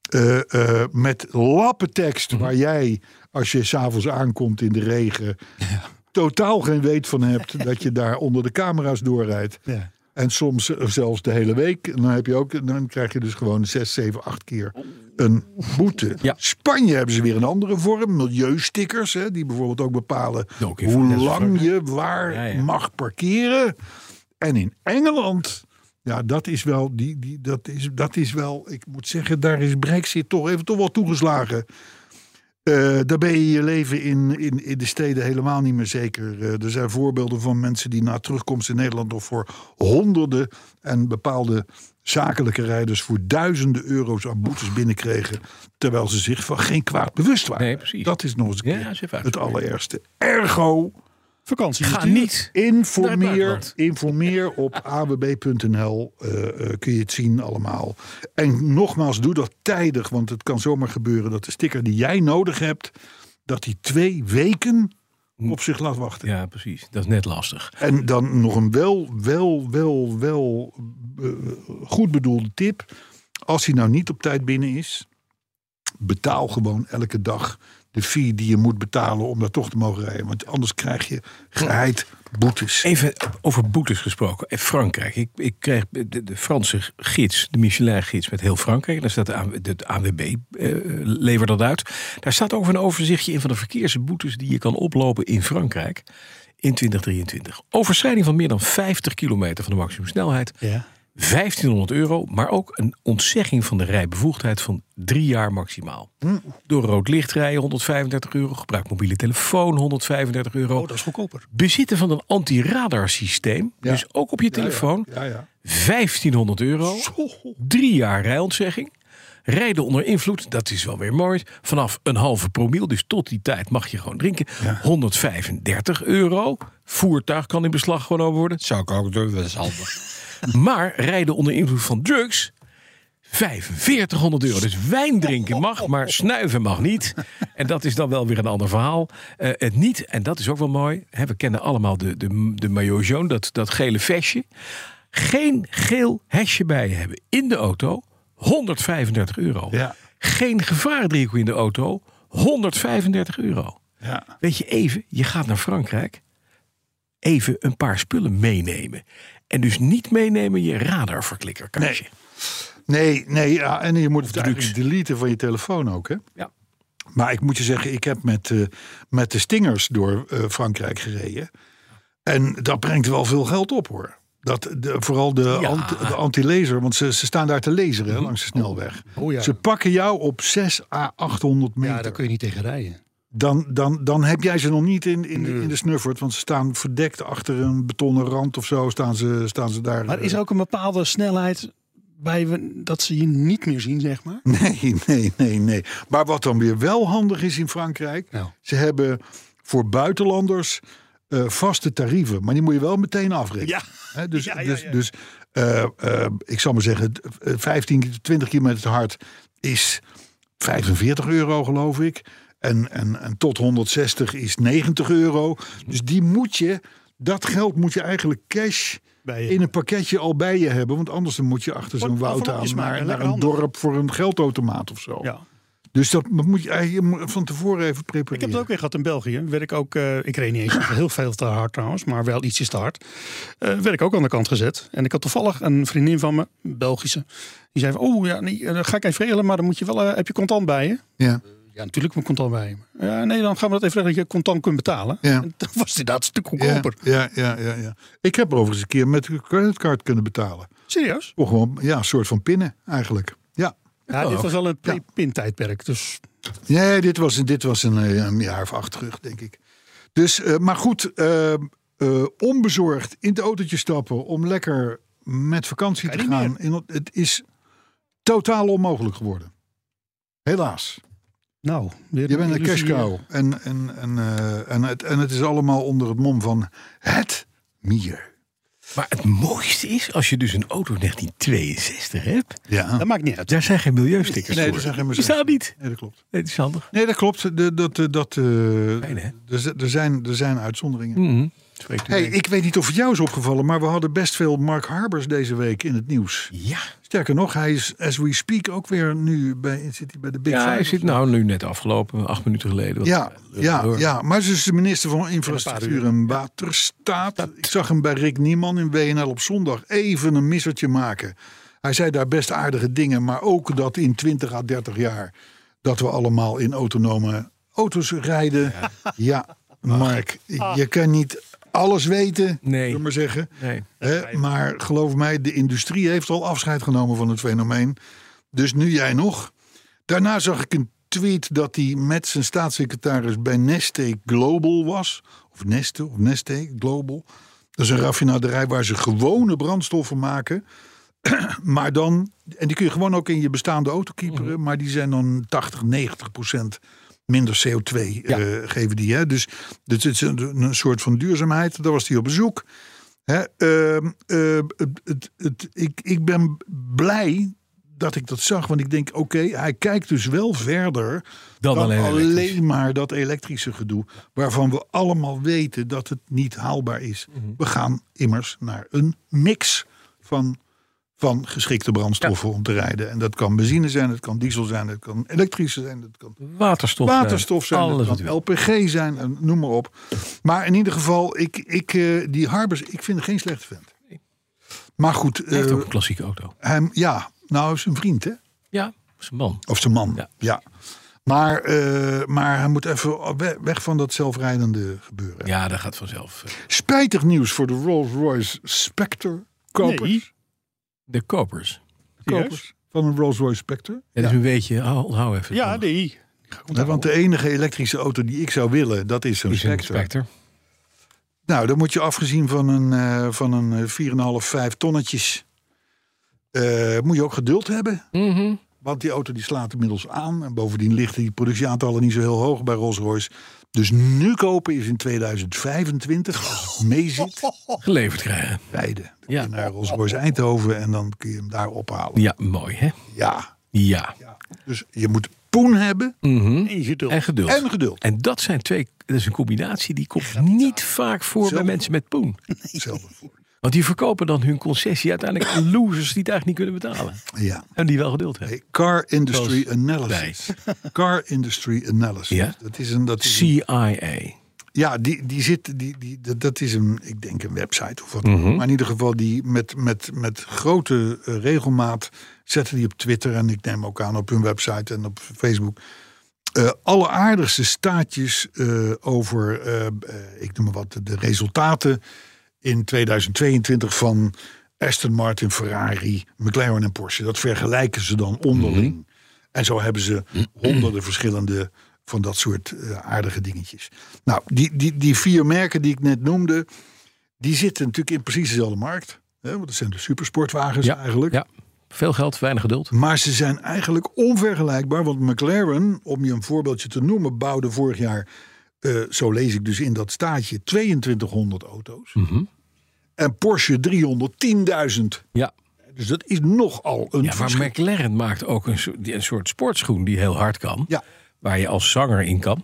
eh, eh, met lappentekst waar jij, als je s'avonds aankomt in de regen, totaal geen weet van hebt dat je daar onder de camera's doorrijdt.
Ja.
En soms eh, zelfs de hele week. En Dan, heb je ook, dan krijg je dus gewoon zes, zeven, acht keer een boete.
Ja.
Spanje hebben ze weer een andere vorm. Milieustickers, hè, die bijvoorbeeld ook bepalen
Nou, oké,
hoe
dat is leuk.
lang je waar
Ja, ja.
mag parkeren. En in Engeland, ja, dat is wel, die, die, dat is, dat is wel ik moet zeggen, daar is Brexit toch even toch wel toegeslagen. Eh, daar ben je je leven in, in, in de steden helemaal niet meer zeker. Eh, er zijn voorbeelden van mensen die na terugkomst in Nederland nog voor honderden en bepaalde zakelijke rijders voor duizenden euro's aan boetes binnenkregen. Terwijl ze zich van geen kwaad bewust waren.
Nee, precies.
Dat is nog eens een
Ja,
keer
is even
het
uitgeprobeerd.
allerergste. Ergo,
Vakantie.
Ga
natuurlijk.
niet. Naar het
Informeer,
buitenland.
informeer op awb.nl eh, eh, kun je het zien allemaal. En nogmaals, doe dat tijdig, want het kan zomaar gebeuren dat de sticker die jij nodig hebt, dat die twee weken op zich laat wachten.
Ja, precies. Dat is net lastig.
En dan nog een wel, wel, wel, wel eh, goed bedoelde tip. Als hij nou niet op tijd binnen is, betaal gewoon elke dag de fee die je moet betalen om daar toch te mogen rijden. Want anders krijg je geheid boetes.
Even over boetes gesproken. Eh, Frankrijk. Ik, ik kreeg de, de Franse gids, de Michelin-gids met heel Frankrijk. Daar staat de, A- de, de ANWB, eh, lever dat uit. Daar staat over een overzichtje in van de verkeersboetes die je kan oplopen in Frankrijk in 2023. Overschrijding van meer dan 50 kilometer van de maximumsnelheid.
Ja.
1500 euro, maar ook een ontzegging van de rijbevoegdheid van drie jaar maximaal.
Hm.
Door rood licht rijden 135 euro, gebruik mobiele telefoon 135 euro.
Oh, dat is goedkoper.
Bezitten van een anti-radarsysteem,
Ja.
dus ook op je telefoon, 1500 euro. Drie jaar rijontzegging. Rijden onder invloed, dat is wel weer mooi. Vanaf een halve promiel, dus tot die tijd mag je gewoon drinken. 135 euro. Voertuig kan in beslag genomen worden. Zou ik ook doen, dat is handig. maar rijden onder invloed van drugs, 4500 euro. Dus wijn drinken mag, maar snuiven mag niet. En dat is dan wel weer een ander verhaal. Eh, het niet, en dat is ook wel mooi. Hè, we kennen allemaal de, de, de maillot jaune, dat, dat gele vestje. Geen geel hesje bij je hebben in de auto. 135 euro.
Ja.
Geen gevaardriehoek in de auto. 135 euro.
Ja.
Weet je, even, je gaat naar Frankrijk. Even een paar spullen meenemen. En dus niet meenemen je radarverklikkerkaartje.
Nee, nee ja, en je moet het
drugs.
eigenlijk deleten van je telefoon ook. Hè?
Ja.
Maar ik moet je zeggen, ik heb met, eh, met de Stingers door eh, Frankrijk gereden. En dat brengt wel veel geld op hoor. Dat de, vooral de,
Ja.
ant- de anti-laser, want ze, ze staan daar te lezen hè, langs de snelweg.
Mhm. Oh ja.
Ze pakken jou op 6 à 800 meter.
Ja, daar kun je niet tegen rijden.
dan, dan, dan heb jij ze nog niet in, in, in de snuffert, want ze staan verdekt achter een betonnen rand of zo. Staan ze, staan ze daar.
Maar
eh,
is er ook een bepaalde snelheid bij we, dat ze je niet meer zien, zeg maar?
<laughs> Nee, nee, nee, nee. Maar wat dan weer wel handig is in Frankrijk,
Nou.
ze hebben voor buitenlanders eh, vaste tarieven, maar die moet je wel meteen afrekenen.
Ja.
Hè, dus
Ja, ja,
dus,
ja.
dus eh, eh, ik zal maar zeggen, eh, 15, 20 kilometer te hard is 45 euro, geloof ik. En, en, en tot 160 is 90 euro. Dus die moet je, dat geld moet je eigenlijk cash
Bij je.
in een pakketje al bij je hebben. Want anders dan moet je achter zo'n
Wat- wat
woud
voor
aan
lapjes
naar,
maken,
naar
lekker
een
handig.
dorp voor een geldautomaat of zo.
Ja.
Dus dat moet je, eh, je moet van tevoren even prepareren.
Ik heb het ook weer gehad in België. Werd ik ook, eh, ik reed niet eens heel veel te hard trouwens, maar wel ietsjes te hard. Eh werd ik ook aan de kant gezet. En ik had toevallig een vriendin van me, een Belgische, die zei van, oh ja, nee, eh, dan ga ik even regelen, maar dan moet je wel, eh, heb je contant bij je?
Ja.
Ja, natuurlijk moet contant bij hem. Ja, nee, dan gaan we dat even regelen dat je contant kunt betalen.
Ja.
En dat was inderdaad een stuk
Ja,
goedkoper.
ja, ja, ja, ja. Ik heb overigens een keer met een creditcard kunnen betalen.
Serieus?
Of gewoon, ja, een soort van pinnen eigenlijk. Ja.
Ja, dit was al een pre-pin-tijdperk. Dus
Nee, dit was, dit was een, eh, een jaar of acht terug, denk ik. Dus, eh, maar goed, eh, eh, onbezorgd in het autootje stappen om lekker met vakantie te gaan. En het is totaal onmogelijk geworden. Helaas.
nou, weer
Je dus bent een
illusie,
cash cow. En, en, en, eh, en, het, en het is allemaal onder het mom van het mier.
Maar het mooiste is, als je dus een auto 1962 hebt,
eh,
Ja.
Dat maakt niet uit.
daar zijn geen milieustickers
Nee,
voor.
er zijn geen
Die staan niet.
Nee, dat klopt.
Nee, dat is handig.
Nee, dat klopt. De, dat, eh, dat, eh,
hè?
er, z- er, zijn, er zijn uitzonderingen.
Mhm. Spreekt u
Hey,
mee.
ik weet niet of het jou is opgevallen, maar we hadden best veel Mark Harbers deze week in het nieuws.
Ja,
Sterker nog, hij is, as we speak, ook weer nu bij, zit hij bij de Big
ja hij
Five.
zit nou nu net afgelopen, acht minuten geleden.
Ja, ja,
hoor.
ja, maar ze is de minister van Infrastructuur en Waterstaat. Ik zag hem bij Rick Nieman in WNL op zondag even een missertje maken. Hij zei daar best aardige dingen, maar ook dat in 20 à 30 jaar... dat we allemaal in autonome auto's rijden. Ja, Mark, je kan niet alles weten,
Nee.
zullen we maar zeggen.
Nee.
Hè, maar geloof mij, de industrie heeft al afscheid genomen van het fenomeen. Dus nu jij nog. Daarna zag ik een tweet dat hij met zijn staatssecretaris bij Neste Global was. Of Neste, of Neste Global. Dat is een raffinaderij waar ze gewone brandstoffen maken. <clears throat> maar dan, en die kun je gewoon ook in je bestaande auto kieperen. Maar die zijn dan 80, 90 procent minder CO2 eh, geven die. Hè? Dus dit is een, een soort van duurzaamheid. Daar was hij op bezoek. Hè, ehm, ehm, het, het, het- ik, ik ben blij dat ik dat zag. Want ik denk, oké, hij kijkt dus wel verder
Dan alleen elektrisch.
maar dat elektrische gedoe. Waarvan we allemaal weten dat het niet haalbaar is.
Mhm.
We gaan immers naar een mix van, van geschikte brandstoffen om te rijden. En dat kan benzine zijn, het kan diesel zijn, het kan elektrisch zijn, het kan
Waterstof. zijn,
waterstof zijn,
eh,
eh,
Alles
het
wat u
kan
wil.
LPG zijn, en noem maar op. Maar in ieder geval, ik, ik, eh, die Harbers, ik vind geen slechte vent. Maar goed,
Hij heeft
eh,
ook een klassieke auto.
hem, ja, nou is een vriend hè.
Ja, dat is een man.
Of zijn man. Ja.
Ja.
Maar, eh, maar hij moet even we- weg van dat zelfrijdende gebeuren.
Ja, dat gaat vanzelf. eh,
Spijtig nieuws voor de Rolls-Royce Spectre kopers.
Nee,
De kopers.
kopers van een Rolls-Royce Spectre.
Dat is een beetje, oh, hou even.
ja,
die
die.
Hè, want de enige elektrische auto die ik zou willen, dat is zo'n
is een
Spectre.
Spectre.
Nou, dan moet je afgezien van een, eh, van een eh, 4,5, 5 tonnetjes. eh, moet je ook geduld hebben.
Mhm.
Want die auto die slaat inmiddels aan. En bovendien liggen die productieaantallen niet zo heel hoog bij Rolls-Royce. Dus nu kopen is in 2025,
<laughs>
als het meeziet,
Geleverd krijgen.
beide. Dan kun je
Ja.
naar Rolls-Royce Eindhoven en dan kun je hem daar ophalen.
Ja, mooi hè?
Ja.
Ja.
ja. Dus je moet poen hebben
Mhm.
eh,
En geduld.
En geduld.
en geduld.
En dat zijn twee, dat is een combinatie die komt niet vaak voor bij
Zelden.
mensen met poen. <laughs>
Hetzelfde.
Want die verkopen dan hun concessie uiteindelijk
<coughs>
aan losers die het eigenlijk niet kunnen betalen.
Ja.
En die wel geduld hebben.
Hey, car industry
Zoals
analysis.
<laughs>
Car industry analysis.
Ja.
Dat is een, dat is een
CIA.
Ja, die, die zit, die, die, dat- dat is een, ik denk een website of wat.
Mhm.
Maar in ieder geval, die met, met, met grote eh, regelmaat zetten die op Twitter en ik neem ook aan op hun website en op Facebook. eh alleraardigste staatjes eh, over, eh, eh, ik noem maar wat, de resultaten in 2022 van Aston Martin, Ferrari, McLaren en Porsche. Dat vergelijken ze dan onderling.
Mhm.
En zo hebben ze honderden verschillende van dat soort eh, aardige dingetjes. Nou, die, die, die vier merken die ik net noemde, die zitten natuurlijk in precies dezelfde markt. Hè, want dat zijn de supersportwagens
Ja,
eigenlijk.
Ja. Veel geld, weinig geduld.
Maar ze zijn eigenlijk onvergelijkbaar. Want McLaren, om je een voorbeeldje te noemen, bouwde vorig jaar, eh, zo lees ik dus in dat staatje, 2200 auto's.
Mhm.
En Porsche 310.000.
Ja.
Dus dat is nogal een
ja, maar
verschil.
McLaren maakt ook een, soort- die- een soort sportschoen die heel hard kan.
Ja.
Waar je als zanger in kan.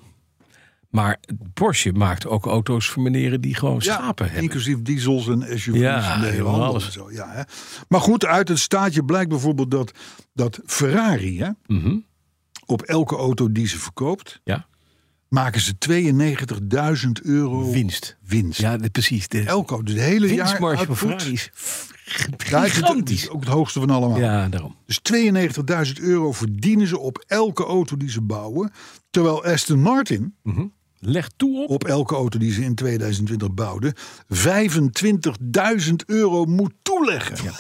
Maar Porsche maakt ook auto's voor meneren die gewoon schapen hebben.
Inclusief diesels en SUV's
Ja,
en de hele
helemaal
handel
alles.
en zo. Ja, hè. Maar goed, uit het staatje blijkt bijvoorbeeld dat,
Mhm.
dat Ferrari hè, op elke auto die ze verkoopt...
Ja.
maken ze 92.000 euro
Winst.
winst.
Ja, de- precies. De
Elko, dus het hele jaar
winstmarge van
output.
Ferrari is f-
Daar is het-
gigantisch.
Ook het hoogste van allemaal.
Ja, daarom.
Dus 92.000 euro verdienen ze op elke auto die ze bouwen. Terwijl Aston Martin
Leg toe op.
op elke auto die ze in 2020 bouwden... 25.000 euro moet toeleggen.
Ja,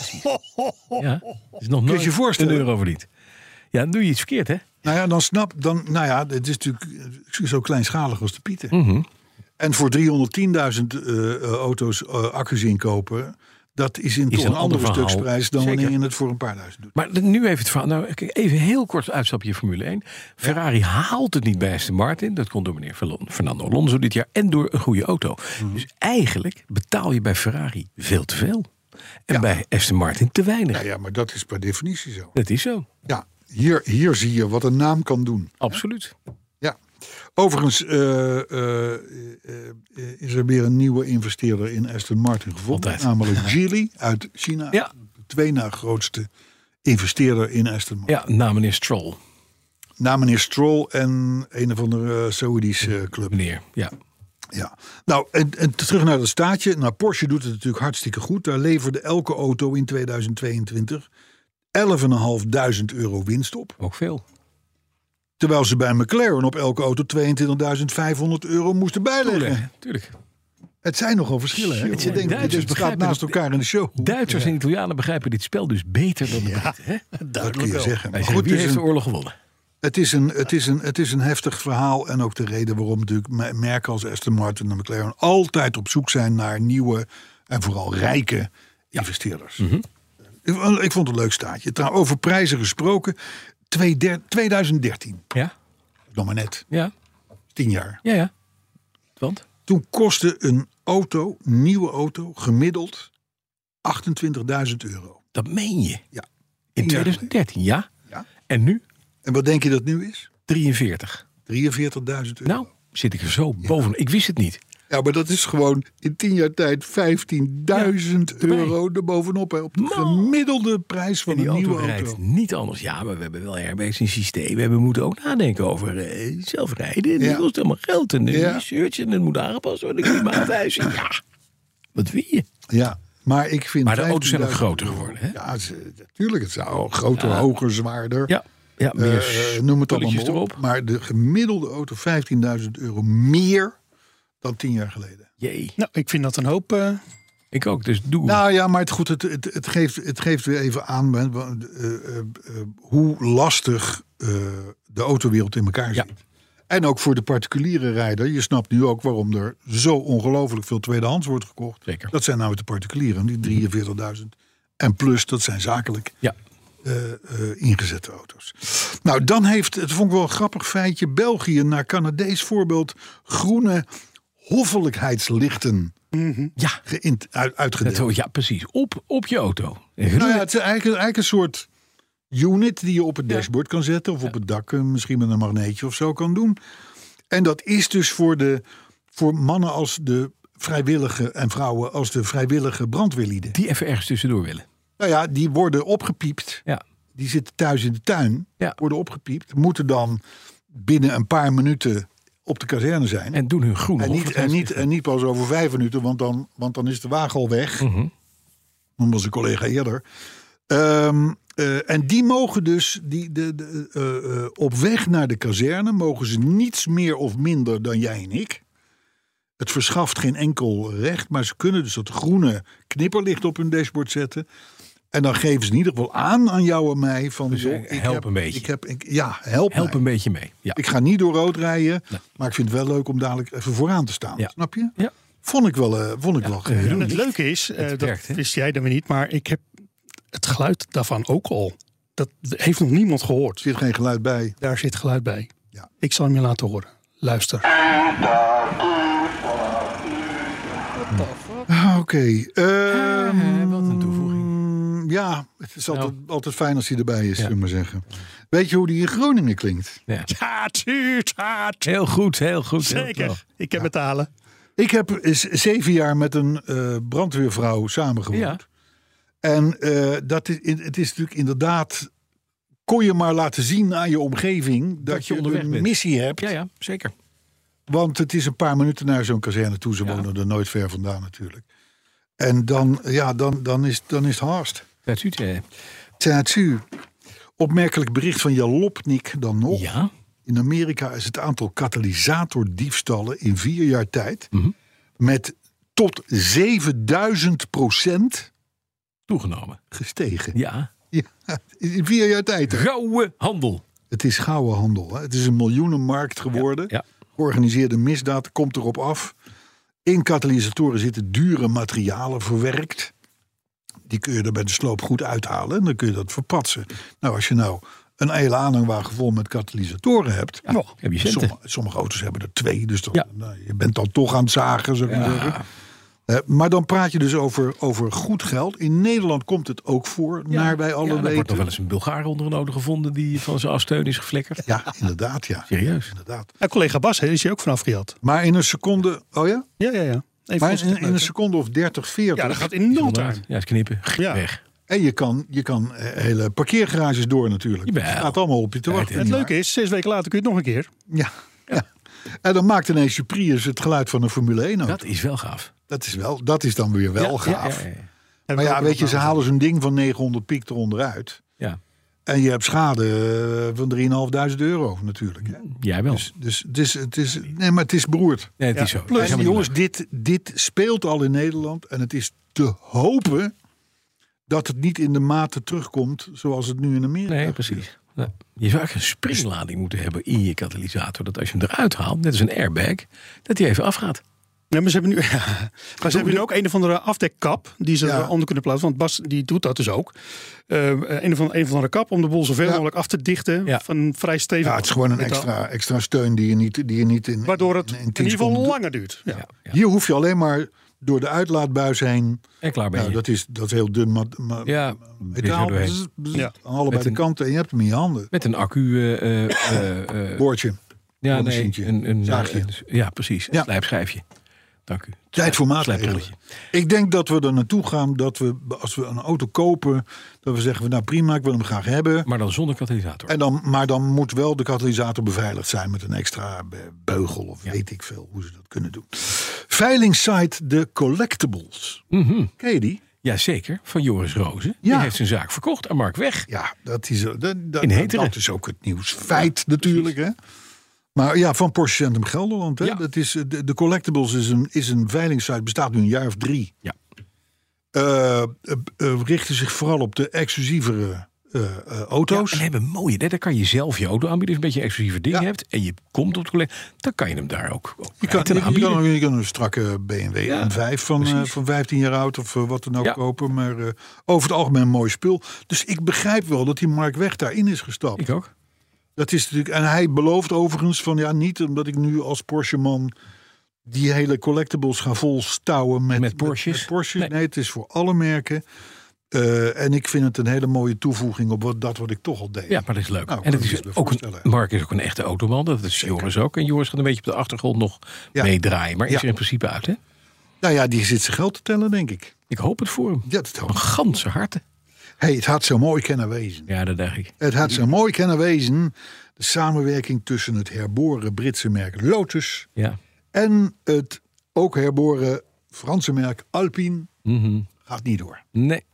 is nog
je
nooit
je voorstellen?
een euro verdiend. Ja, dan doe je iets verkeerd, hè?
Nou ja, dan snap... Dan, nou ja, het is natuurlijk zo kleinschalig als de pieten.
Mhm.
En voor 310.000 eh, eh, auto's eh, accu's inkopen... dat is in
Is
toch
een
een andere
ander verhaal.
stuksprijs... dan
Zeker.
wanneer je het voor een paar duizend doet.
Maar de- nu even het verhaal. Nou, kijk, even heel kort uitstapje in Formule 1. Ferrari haalt het niet bij Aston Martin. Dat komt door meneer Verlo- Fernando Alonso dit jaar. En door een goede auto.
Mhm.
Dus eigenlijk betaal je bij Ferrari veel te veel. En bij Aston Martin te weinig.
Nou Ja, ja, maar dat is per definitie zo.
Dat is zo.
Ja, hier, hier zie je wat een naam kan doen.
Absoluut.
Ja. Overigens eh, eh, eh, eh, is er weer een nieuwe investeerder in Aston Martin gevonden.
Altijd. <laughs>
Namelijk Geely uit China.
Ja.
De twee na grootste investeerder in Aston Martin.
Ja, na meneer Stroll.
Na meneer Stroll en een of andere eh, Saoedische eh, club.
Meneer, ja.
Ja. Nou, en, en terug naar dat staatje. Nou, Porsche doet het natuurlijk hartstikke goed. Daar leverde elke auto in 2022 11.500 euro winst op.
Ook veel.
Terwijl ze bij McLaren op elke auto 22.500 euro moesten bijleggen.
Tuurlijk. Tuurlijk.
Het zijn nogal verschillen. Hè?
Het zijn
Ik denk,
Duitsers
dit staat
begrijpen
naast
dat-
elkaar in de show.
Duitsers en Italianen begrijpen dit spel dus beter dan de Britten. hè?
dat kun je
Wij
zeggen. Maar
zeggen,
goed,
wie
het is,
heeft de
een,
oorlog gewonnen?
het, is een, het, is een, het is een heftig verhaal. En ook de reden waarom natuurlijk me- merken als Aston Martin en McLaren altijd op zoek zijn naar nieuwe en vooral rijke investeerders.
Mhm.
ik, ik vond het een leuk staatje. Trouw, over prijzen gesproken. Twee der- 2013,
Ja,
nog maar net,
ja,
tien jaar.
ja, ja. Want?
Toen kostte een auto, nieuwe auto, gemiddeld 28.000 euro.
Dat meen je.
Ja.
In
Tien jaar
2013, ja.
Ja.
En nu?
En wat denk je dat nu is?
43.
43.000 euro.
Nou, zit ik er zo bovenop. Ik wist het niet.
Ja, maar dat is gewoon in 10 jaar tijd 15.000 euro erbovenop. Hè, op de gemiddelde prijs van
En die
een
auto
nieuwe
rijdt
auto.
niet anders. Ja, maar we hebben wel airbags in systeem. En we moeten ook nadenken over eh, zelfrijden. En
Ja.
Dat kost helemaal geld. En een
Ja.
research. En het moet aangepast worden. Klimaatwijzing. Ja, wat wil je?
Ja, maar ik vind.
Maar de auto's zijn ook
15.000
groter geworden, hè?
Ja, ze- natuurlijk. Het zou groter, hoger, zwaarder.
Ja, ja
Eh,
meer
eh, noem het allemaal
spulletjes
maar op.
erop.
Maar de gemiddelde auto 15.000 euro meer dan 10 jaar geleden.
Jee,
Nou, ik vind dat een hoop. eh,
ik ook. Dus doe.
Nou ja, maar het, goed, het, het, het, geeft, het geeft weer even aan hè, want, eh, eh, eh, hoe lastig eh, de autowereld in elkaar
Ja.
zit. En ook voor de particuliere rijder. Je snapt nu ook waarom er zo ongelooflijk veel tweedehands wordt gekocht.
Zeker.
Dat zijn nou de particulieren, die 43.000. En plus, dat zijn zakelijk
Ja,
eh, eh, ingezette auto's. Nou, dan heeft, het vond ik wel een grappig feitje, België naar Canadees voorbeeld groene hoffelijkheidslichten
ja,
geïnt- uit, uitgedeeld.
dat, ja precies. Op, op je auto.
Nou ja, het is eigenlijk, eigenlijk een soort unit die je op het dashboard kan zetten. Of op het dak eh, misschien met een magneetje of zo kan doen. En dat is dus voor, de, voor mannen als de vrijwillige en vrouwen als de vrijwillige brandweerlieden.
Die even ergens tussendoor willen.
Nou ja, die worden opgepiept.
Ja,
Die zitten thuis in de tuin.
Ja.
Worden opgepiept. Moeten dan binnen een paar minuten op de kazerne zijn.
en doen hun groen.
En niet, en, niet, en niet pas over vijf minuten, want dan, want dan is de wagen al weg.
Mhm.
Noemde onze collega eerder. Ehm, eh, en die mogen dus die, de, de, eh, eh, op weg naar de kazerne, mogen ze niets meer of minder dan jij en ik. Het verschaft geen enkel recht, maar ze kunnen dus dat groene knipperlicht op hun dashboard zetten. En dan geven ze in ieder geval aan aan jou en mij van joh,
eh, help een beetje.
Ik heb, ik, ja, help,
Help
mij.
een beetje mee. Ja.
Ik ga niet door rood rijden, maar ik vind het wel leuk om dadelijk even vooraan te staan.
Ja.
Snap je?
Ja.
Vond ik wel, eh vond ik wel geheel.
En het leuke is, eh, dat
werkt, hè?
wist jij dan weer niet, maar ik heb het geluid daarvan ook al. Dat heeft nog niemand
Er
gehoord.
zit geen geluid bij.
Daar zit geluid bij.
Ja.
Ik zal hem je laten horen. Luister.
Ah, Oké. ehm,
wat een toevoeging. Nou.
ja, het is altijd, altijd fijn als hij erbij is, zullen we maar zeggen. Weet je hoe die in Groningen klinkt?
Ja.
Ja, tuut, ja, tuut.
Heel goed, heel goed. heel knap.
Zeker. Ik heb het te halen.
Ik heb eens zeven jaar met een eh, brandweervrouw samengewoond.
Ja.
En eh, dat is, het is natuurlijk inderdaad... kon je maar laten zien aan je omgeving... dat,
je
je,
onderweg
een
bent.
missie hebt...
Ja, ja, zeker.
Want het is een paar minuten naar zo'n kazerne toe. Ze wonen er nooit ver vandaan natuurlijk. En dan, ja, dan, dan, is, dan is het haast.
Dat u het,
Tatsu. Opmerkelijk bericht van Jalopnik dan nog.
Ja.
In Amerika is het aantal katalysatordiefstallen in vier jaar tijd met tot 7000 procent
Toegenomen.
gestegen.
Ja.
Ja, in vier jaar tijd. hè?
Rauwe handel.
Het is gouden handel. Hè? Het is een miljoenenmarkt geworden.
Ja.
Georganiseerde misdaad komt erop af. In katalysatoren zitten dure materialen verwerkt. Die kun je er bij de sloop goed uithalen en dan kun je dat verpatsen. Nou, als je nou een hele aanhangwagen vol met katalysatoren hebt.
Ja, heb je centen.
sommige, sommige auto's hebben er twee, dus dan,
Ja.
nou, je bent dan toch aan het zagen, zou ik maar zeggen. Eh, maar dan praat je dus over, over goed geld. In Nederland komt het ook voor, naar wij alle
Ja, er
weten.
wordt nog wel eens een Bulgaar onder een auto gevonden die van zijn afsteun is geflikkerd.
Ja, inderdaad, ja.
Serieus.
Inderdaad.
Ja, Nou, collega Bas hè, is hier ook vanaf gejat.
Maar in een seconde, oh ja?
Ja, ja, ja. Even
Maar
ons
in, in
gebruiken.
een seconde of 30, 40.
ja, dat gaat in nul
Ja,
time.
het knippen.
Ja.
Weg.
En je kan, je kan eh, hele parkeergarages door natuurlijk.
Jawel.
Het staat allemaal op je te
Ja,
wachten.
Het leuke is, zes weken later kun je het nog een keer.
Ja. ja. En dan maakt ineens je Prius het geluid van een Formule 1 auto.
Dat
Dat,
is wel gaaf.
is, wel, dat is dan weer wel gaaf.
Ja, ja, ja.
Maar ja, weet je, ze
haalt
halen zo'n ding van 900 piek eronder uit.
Ja.
En je hebt schade eh, van 3.500 euro natuurlijk. hè.
Jij wel.
Dus, dus het, is, het is, nee, maar het is beroerd.
nee, het
ja,
is zo.
plus-
Het is
En
helemaal
jongens,
niet
dit, dit speelt al in Nederland. En het is te hopen dat het niet in de mate terugkomt zoals het nu in Amerika
leuk. Nee,
gebeurt.
precies. Ja. Je zou echt een springlading moeten hebben in je katalysator. Dat als je hem eruit haalt, net als een airbag, dat die even afgaat.
Nee, maar ze hebben nu, <laughs> maar ze hebben nu ook een of andere afdekkap die ze
Ja.
onder kunnen plaatsen. Want Bas die doet dat dus ook. Eh, een, of andere, een of andere kap om de boel zoveel
Ja.
mogelijk af te dichten
Ja.
van vrij stevig.
Ja, het is gewoon een
metaal.
extra, extra steun die je niet, die je niet in.
Waardoor het in,
in- in tien
ieder geval
seconden-
langer duurt. Ja.
Hier hoef je alleen maar door de uitlaatbuis heen.
En klaar ben
Nou,
je.
dat, is, dat is heel dun ma- ma-
ja, weer zo
metaal.
doorheen.
Bzz, bzz,
Ja.
Aan allebei
Met
de
een-
kanten. En je hebt hem in je handen.
Met een accu. eh, eh, eh, eh,
Boordje.
ja, nee,
een machientje.
een, een,
Zaagje.
een- ja, precies.
Ja.
Een slijpschijfje. Dank u.
Tijd voor maatregelen.
Slijppolletje.
Ik denk dat we er naartoe gaan dat we, als we een auto kopen, dat we zeggen: Nou prima, ik wil hem graag hebben.
Maar dan zonder katalysator.
En dan, maar dan moet wel de katalysator beveiligd zijn met een extra be- beugel of weet ik veel hoe ze dat kunnen doen. Veilingsite de Collectibles.
Mhm.
Ken je die?
Jazeker, van Joris Rozen. Die
Ja.
heeft zijn zaak verkocht aan Mark Weg.
Ja, dat is, eh, dat, dat,
In Heteren.
dat is ook het nieuws. Feit natuurlijk. Hè? Maar ja, van Porsche Centrum Gelderland. Hè?
Ja.
Dat is, eh, de, de Collectibles is een, is een veilingsite, bestaat nu een jaar of drie.
Ja.
Eh, eh, eh, richten zich vooral op de exclusievere eh, eh,
Ja,
auto's.
en hebben mooie. Daar kan je zelf je auto aanbieden. Als je een beetje een exclusieve dingen
Ja.
hebt en je komt op het collega, dan kan je hem daar ook. ook
Je kan,
ten
je, je
aanbieden.
kan, je kan een strakke BMW
Ja,
M5 van, eh, van 15 jaar oud of eh, wat dan ook
Ja.
kopen. Maar eh, over het algemeen een mooi spul. Dus ik begrijp wel dat die Mark Weg daarin is gestapt.
Ik ook.
Dat is natuurlijk, en hij belooft overigens van ja, niet omdat ik nu als Porsche-man die hele collectibles ga volstouwen met,
Met Porsches.
met Porsches.
Nee.
Nee. het is voor alle merken. Eh, en ik vind het een hele mooie toevoeging op wat, dat wat ik toch al deed.
Ja, maar dat is leuk.
Nou,
en dat
kan
is
ik me
ook een,
voorstellen.
Mark is ook een echte automan. Dat is Joris ook. En Joris gaat een beetje op de achtergrond nog
Ja.
meedraaien. Maar is
Ja.
er in principe uit, hè?
Nou ja, die zit zijn geld te tellen, denk ik.
Ik hoop het voor hem.
Ja, dat
Van
hoop ik.
ganse harte.
hey, het had zo mooi kunnen wezen.
Ja, dat dacht ik.
Het had zo mooi kunnen wezen. De samenwerking tussen het herboren Britse merk Lotus
Ja.
en het ook herboren Franse merk Alpine
Mhm.
gaat niet door.
Nee.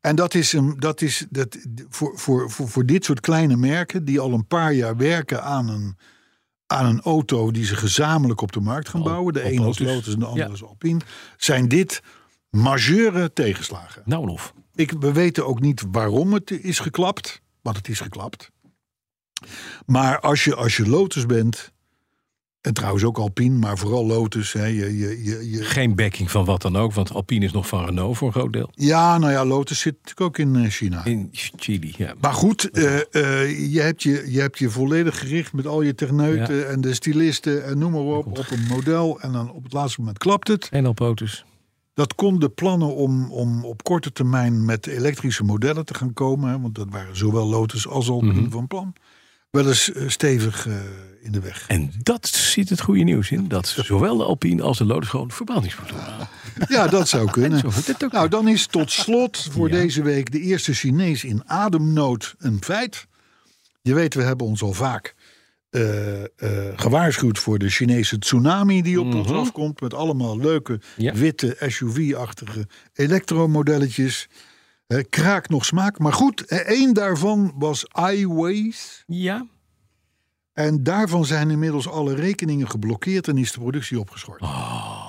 En dat is, een, dat is dat, voor, voor, voor, voor dit soort kleine merken die al een paar jaar werken aan een, aan een auto die ze gezamenlijk op de markt gaan bouwen. De
op
ene is
Lotus.
Lotus en de andere
Ja.
is Alpine. Zijn dit majeure tegenslagen.
Nou en of.
Ik, we weten ook niet waarom het is geklapt, want het is geklapt. Maar als je, als je Lotus bent, en trouwens ook Alpine, maar vooral Lotus. Hè, je, je, je, je-
Geen backing van wat dan ook. Want Alpine is nog van Renault voor een groot deel.
ja, nou ja, Lotus zit natuurlijk ook in eh, China.
In Chili, ja.
Maar goed, eh, eh, je, hebt je, je hebt je volledig gericht met al je techneuten en de stylisten en noem maar op, op een model. En dan op het laatste moment klapt het.
En Alpotus.
Dat kon de plannen om, om op korte termijn met elektrische modellen te gaan komen, hè, want dat waren zowel Lotus als Alpine van plan, wel eens eh, stevig eh, in de weg.
En dat zit het goede nieuws in. Dat zowel de Alpine als de Lotus gewoon verbrandingsmotor hebben.
Ja, dat
<laughs>
zou kunnen.
Zo hoort het ook.
Nou, dan is tot slot voor deze week de eerste Chinees in ademnood een feit. Je weet, we hebben ons al vaak eh, eh, gewaarschuwd voor de Chinese tsunami die op ons afkomt. Met allemaal leuke
Mhm. Ja.
witte SUV-achtige elektromodelletjes. Eh, kraak nog smaak. Maar goed, eh, één daarvan was iWays.
Ja.
En daarvan zijn inmiddels alle rekeningen geblokkeerd en is de productie opgeschort.
Ah.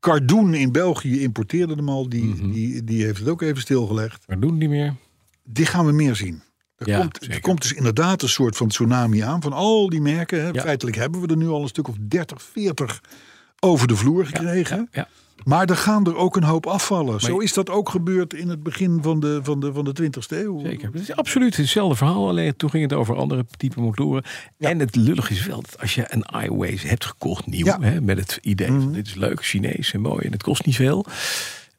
Cardoen in België importeerde hem al. Die,
Mhm.
die, die heeft het ook even stilgelegd.
Maar doen die meer.
Die gaan we meer zien. Er,
Ja,
komt, er
zeker.
komt dus inderdaad een soort van tsunami aan van al die merken. Hè.
Ja.
Feitelijk hebben we er nu al een stuk of 30, 40 over de vloer gekregen.
Ja.
Maar er gaan er ook een hoop afvallen. Zo
je-
is dat ook gebeurd in het begin van de, van de, van de 20ste eeuw.
Zeker. Het is absoluut hetzelfde verhaal. Alleen toen ging het over andere type motoren. En het lullig is wel dat als je een iWays hebt gekocht, nieuw,
Ja.
hè, met het idee van dit is leuk, Chinees en mooi en het kost niet veel.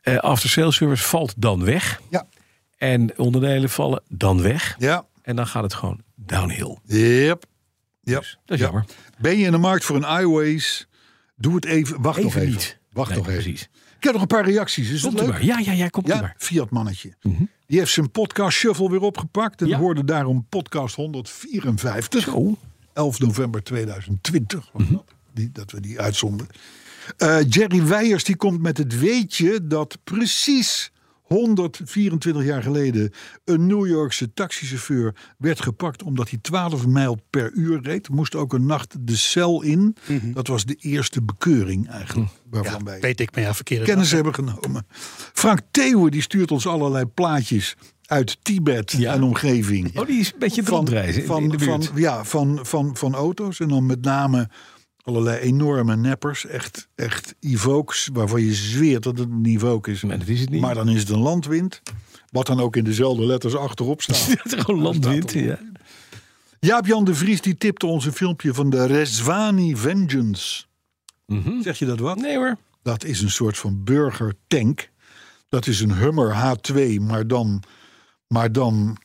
Eh after sales service valt dan weg.
Ja.
En onderdelen vallen dan weg.
Ja.
En dan gaat het gewoon downhill.
Yep. Ja.
Dat is
Ja.
jammer.
Ben je in de markt voor een iWays? Doe het even. Wacht nog
Even
even.
niet.
Wacht
Nee,
nog even.
precies.
Ik heb nog een paar reacties. Is dat
Komt u
leuk?
maar. Ja, ja, ja, komt u
Ja,
maar.
Fiat mannetje. Die heeft zijn podcast shuffle weer opgepakt. En
Ja.
hoorde daarom podcast 154.
Oh.
11 november 2020.
Mhm.
was dat, die, dat we die uitzonden. Eh, Jerry Weijers die komt met het weetje dat precies 124 jaar geleden een New Yorkse taxichauffeur werd gepakt omdat hij 12 mijl per uur reed. Moest ook een nacht de cel in.
Mhm.
Dat was de eerste bekeuring eigenlijk. Waarvan wij
Weet ik, maar ja, verkeerde
kennis hebben genomen. Frank Theeuwen die stuurt ons allerlei plaatjes uit Tibet
Ja.
en omgeving.
Oh, die is een beetje
van,
rondreizen in,
van,
in de buurt.
van, ja, van, van, van auto's. En dan met name allerlei enorme neppers. Echt, echt Evokes, waarvan je zweert dat het een Evoke is.
Maar dat is het niet.
Maar dan is het een landwind. Wat dan ook in dezelfde letters achterop staat.
<laughs> <laughs> dat is gewoon landwind. Ja.
Jaap-Jan de Vries die tipte ons een filmpje van de Reswani Vengeance. Zeg je dat wat?
Mhm. Nee hoor.
Dat is een soort van burgertank. Dat is een Hummer H2, maar dan, maar dan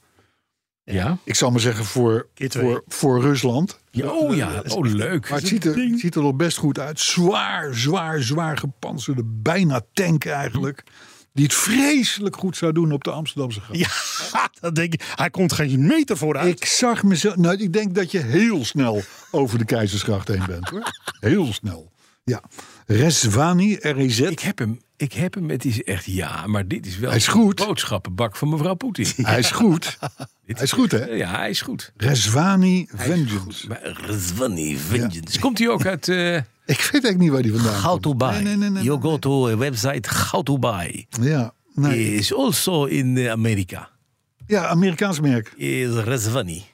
Ja.
ik zal maar zeggen, voor,
K2.
voor, voor Rusland.
ja. Oh ja. Oh leuk.
Maar het ziet, er, het ziet er al best goed uit. Zwaar, zwaar, zwaar gepantserde, bijna tank eigenlijk. Die het vreselijk goed zou doen op de Amsterdamse gracht.
<laughs> Ja, dat denk ik. Hij komt geen meter vooruit.
Ik zag mezelf. Nou, ik denk dat je heel snel over de Keizersgracht heen bent hoor. Heel snel. Ja. Reswani, E REZ.
Ik heb hem. Ik heb hem. Het is echt ja, maar dit is wel
Hij is goed.
een boodschappenbak van mevrouw Poetin.
Hij is goed.
Dit
Hij is goed, hè?
Ja, hij is goed.
Reswani Vengeance.
Maar Razvani Vengeance. Komt hij ook uit eh
Ik weet eigenlijk niet waar die vandaan
How
komt.
to Buy?
Nee, nee, nee, nee,
you
nee.
go to a website How to Buy.
Ja, nee.
Is also in eh, Amerika.
ja, Amerikaans merk. <laughs>
Is Razvani.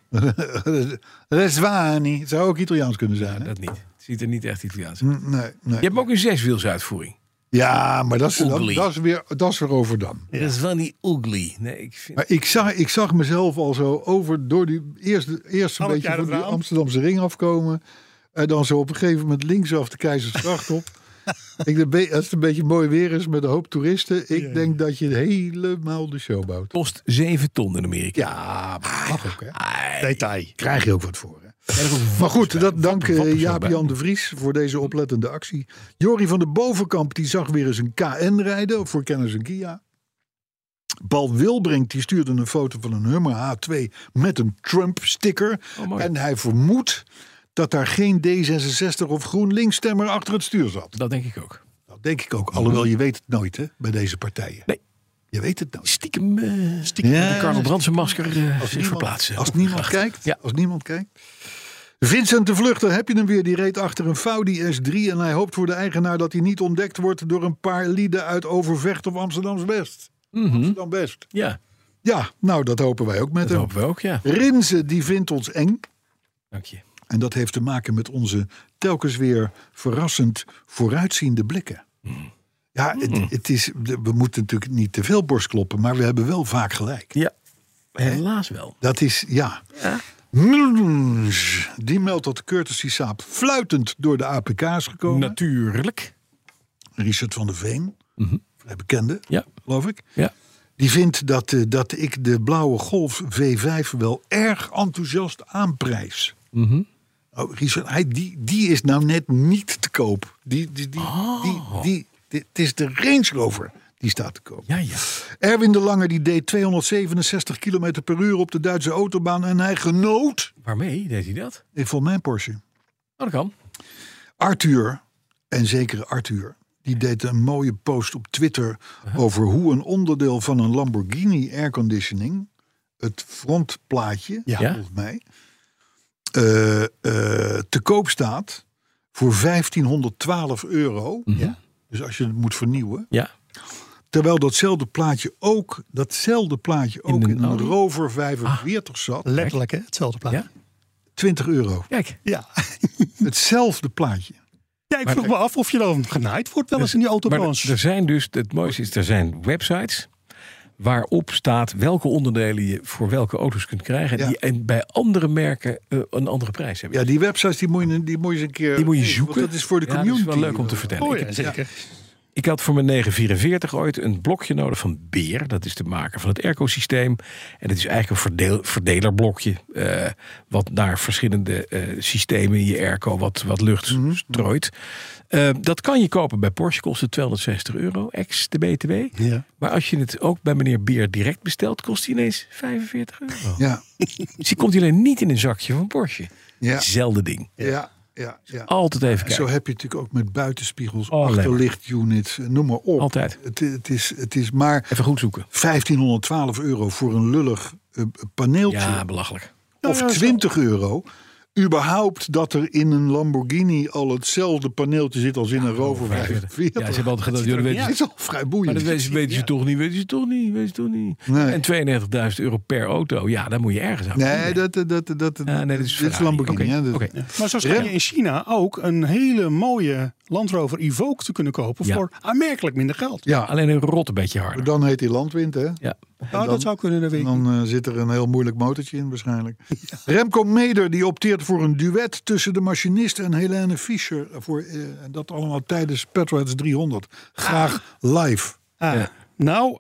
Reswani. Het zou ook Italiaans kunnen zijn. Hè?
Dat niet. Ziet er niet echt Italiaans uit.
Nee, nee.
Je hebt hem ook een zeswielsuitvoering.
Ja, maar dat is, dat,
Oogly.
dat is weer, dat is weer Overdam.
Razvani Ugly. Nee, ik vind...
Maar ik zag, ik zag mezelf al zo over door die eerste, eerste
Half
beetje
jaar
van die
het raam.
Amsterdamse ring afkomen. En dan zo op een gegeven moment linksaf de Keizersgracht op. ik denk, be- als het een beetje mooi weer is met een hoop toeristen. Ik denk dat je helemaal de show bouwt.
Kost 7 ton in Amerika.
Ja, maar mag ook hè.
Detail.
Krijg je ook wat voor hè. Maar goed, dat dank eh, Jaap-Jan de Vries voor deze oplettende actie. Jori van de Bovenkamp die zag weer eens een KN rijden voor kennis en Kia. Paul Wilbrink die stuurde een foto van een Hummer H2 met een Trump-sticker.
mooi.
en hij vermoedt dat daar geen D66 of GroenLinks-stemmer achter het stuur zat.
Dat denk ik ook.
Dat denk ik ook, alhoewel je weet het nooit hè, bij deze partijen.
Nee.
Je weet het nooit.
Stiekem, eh stiekem
Ja.
met die Karel Brandsen masker eh, zich
niemand-
verplaatsen.
Als niemand kijkt.
Ja.
Als niemand kijkt. Vincent de Vluchter, heb je hem weer? Die reed achter een Faudi S3 en hij hoopt voor de eigenaar dat hij niet ontdekt wordt door een paar lieden uit Overvecht of Amsterdams West. Amsterdam West.
Mhm. Ja,
Ja, nou dat hopen wij ook
Hm?
met
dat
hem.
hopen we ook, ja.
Rinze, die vindt ons eng.
Dank je.
En dat heeft te maken met onze telkens weer verrassend vooruitziende blikken.
Hm.
Ja, het, het is, we moeten natuurlijk niet te veel borst kloppen, maar we hebben wel vaak gelijk.
Ja, helaas wel.
Dat is, ja. Mulj, Die meldt dat Curtis Saap fluitend door de APK is gekomen.
Natuurlijk.
Richard van der Veen, vrij bekende,
Ja.
geloof ik.
Ja.
Die vindt dat, eh, dat ik de blauwe Golf V5 wel erg enthousiast aanprijs. oh, Richard, hij, die, die is nou net niet te koop. Die, die, die, die, die, dit is de Range Rover Die staat te komen.
Ja, ja.
Erwin de Lange die deed 267 km per uur op de Duitse autobaan. En hij genoot.
Waarmee deed hij dat?
Ik vond mijn Porsche.
Oh, dat kan.
Arthur, en zekere Arthur, die deed een mooie post op Twitter over hoe een onderdeel van een Lamborghini airconditioning, het frontplaatje,
Ja.
volgens mij, eh, eh, te koop staat voor 1512 euro. Dus als je het moet vernieuwen.
Ja.
Terwijl datzelfde plaatje ook, datzelfde plaatje ook
een
in, een
Audi?
Rover 45 zat.
Letterlijk, hè? Hetzelfde plaatje.
Ja?
20 euro.
Kijk.
Ja. <laughs>
Hetzelfde plaatje.
Ja, ik vroeg me af of je dan genaaid wordt wel eens in die
Maar
autobranche.
er zijn dus, het mooiste is, er zijn websites waarop staat welke onderdelen je voor welke auto's kunt krijgen.
Ja.
Die en bij andere merken eh, een andere prijs hebben.
Ja, die websites die moet je, die moet je eens een keer.
Die moet je
want
zoeken.
Dat is voor de
Ja, dat
community.
is wel leuk om te vertellen.
Oh
Ik
ja,
heb-
zeker.
Ik had voor mijn 944 ooit een blokje nodig van Beer. Dat is de maker van het airco-systeem. En dat is eigenlijk een verdeel, verdelerblokje. eh, wat naar verschillende eh, systemen in je airco wat, wat lucht
Mhm.
strooit. Eh, dat kan je kopen bij Porsche. Kost het 260 euro, ex de BTW.
Ja.
Maar als je het ook bij meneer Beer direct bestelt, kost hij ineens 45 euro.
Ja,
Dus die komt alleen niet in een zakje van Porsche. <laughs>
ja,
Zelfde ding.
ja, ja. ja.
Altijd even
Zo
kijken.
heb je het natuurlijk ook met buitenspiegels,
Alleen maar.
achterlichtunits, noem maar op.
Oh, Altijd.
Het, het, is, het is maar
Even goed zoeken.
1512 euro voor een lullig eh, paneeltje.
Ja, belachelijk.
of 20 euro. Überhaupt dat er in een Lamborghini al hetzelfde paneeltje zit als in een Rover
Ja, ze
45. <laughs>
hebben altijd gedaan, jullie weten
Dat is al vrij
Maar
boeiend.
dat weten, weten ze toch niet, weten ze toch niet, weten ze toch niet.
Nee.
En 92.000 euro per auto, ja, daar moet je ergens aan.
Nee, dat, dat, dat, dat,
Ja, nee, dat is
dit is
Ferrari.
Lamborghini.
Oké,
hè, dat-
oké.
Maar zo schijn je in China ook een hele mooie Land Rover Evoque te kunnen kopen
Ja.
voor aanmerkelijk minder geld.
Ja,
Alleen een rot een beetje harder.
dan heet hij landwind, hè?
Ja.
Nou, dat zou kunnen, dat weet
En
ik niet.
dan eh, zit er een heel moeilijk motortje in waarschijnlijk. <laughs> Remco Meder die opteert voor een duet tussen de machinist en Helene Fischer. Voor, eh, en dat allemaal tijdens Petroheads 300. Graag live.
Ah,
Ja. Oh.
Nou,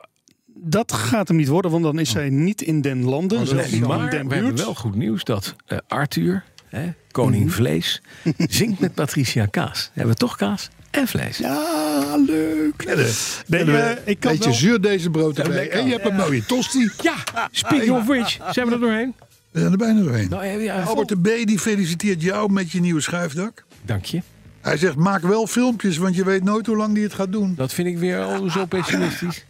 dat gaat hem niet worden, want dan is zij niet in den
Oh,
landen, zelfs niet in
maar
den
we hebben
buurt.
wel goed nieuws dat eh, Arthur, hè, koning
Mhm. <laughs>
vlees, zingt met Patricia Kaas. Dan hebben we toch kaas en vlees.
Ja, Ah, leuk. Nee, eh, ik kan
Beetje
wel...
zuur deze brood erbij. En je hebt een mooie tosti.
Ja, speaking of which, zijn we er doorheen?
We zijn er bijna doorheen.
Nou, eh, ja,
Albert de B. die feliciteert jou met je nieuwe schuifdak.
Dank je.
Hij zegt maak wel filmpjes, want je weet nooit hoe lang die het gaat doen.
Dat vind ik weer al zo pessimistisch.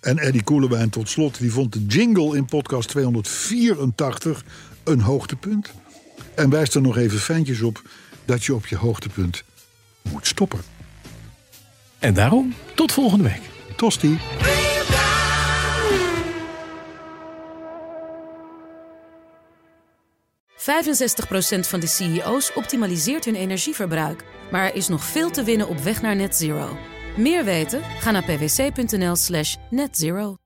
En Eddie Koelewijn tot slot, die vond de jingle in podcast 284 een hoogtepunt. En wijst er nog even fijntjes op dat je op je hoogtepunt moet stoppen.
En daarom, tot volgende week.
Tosti.
...65% van de CEO's optimaliseert hun energieverbruik. Maar er is nog veel te winnen op weg naar net zero. Meer weten? Ga naar pwc.nl slash netzero.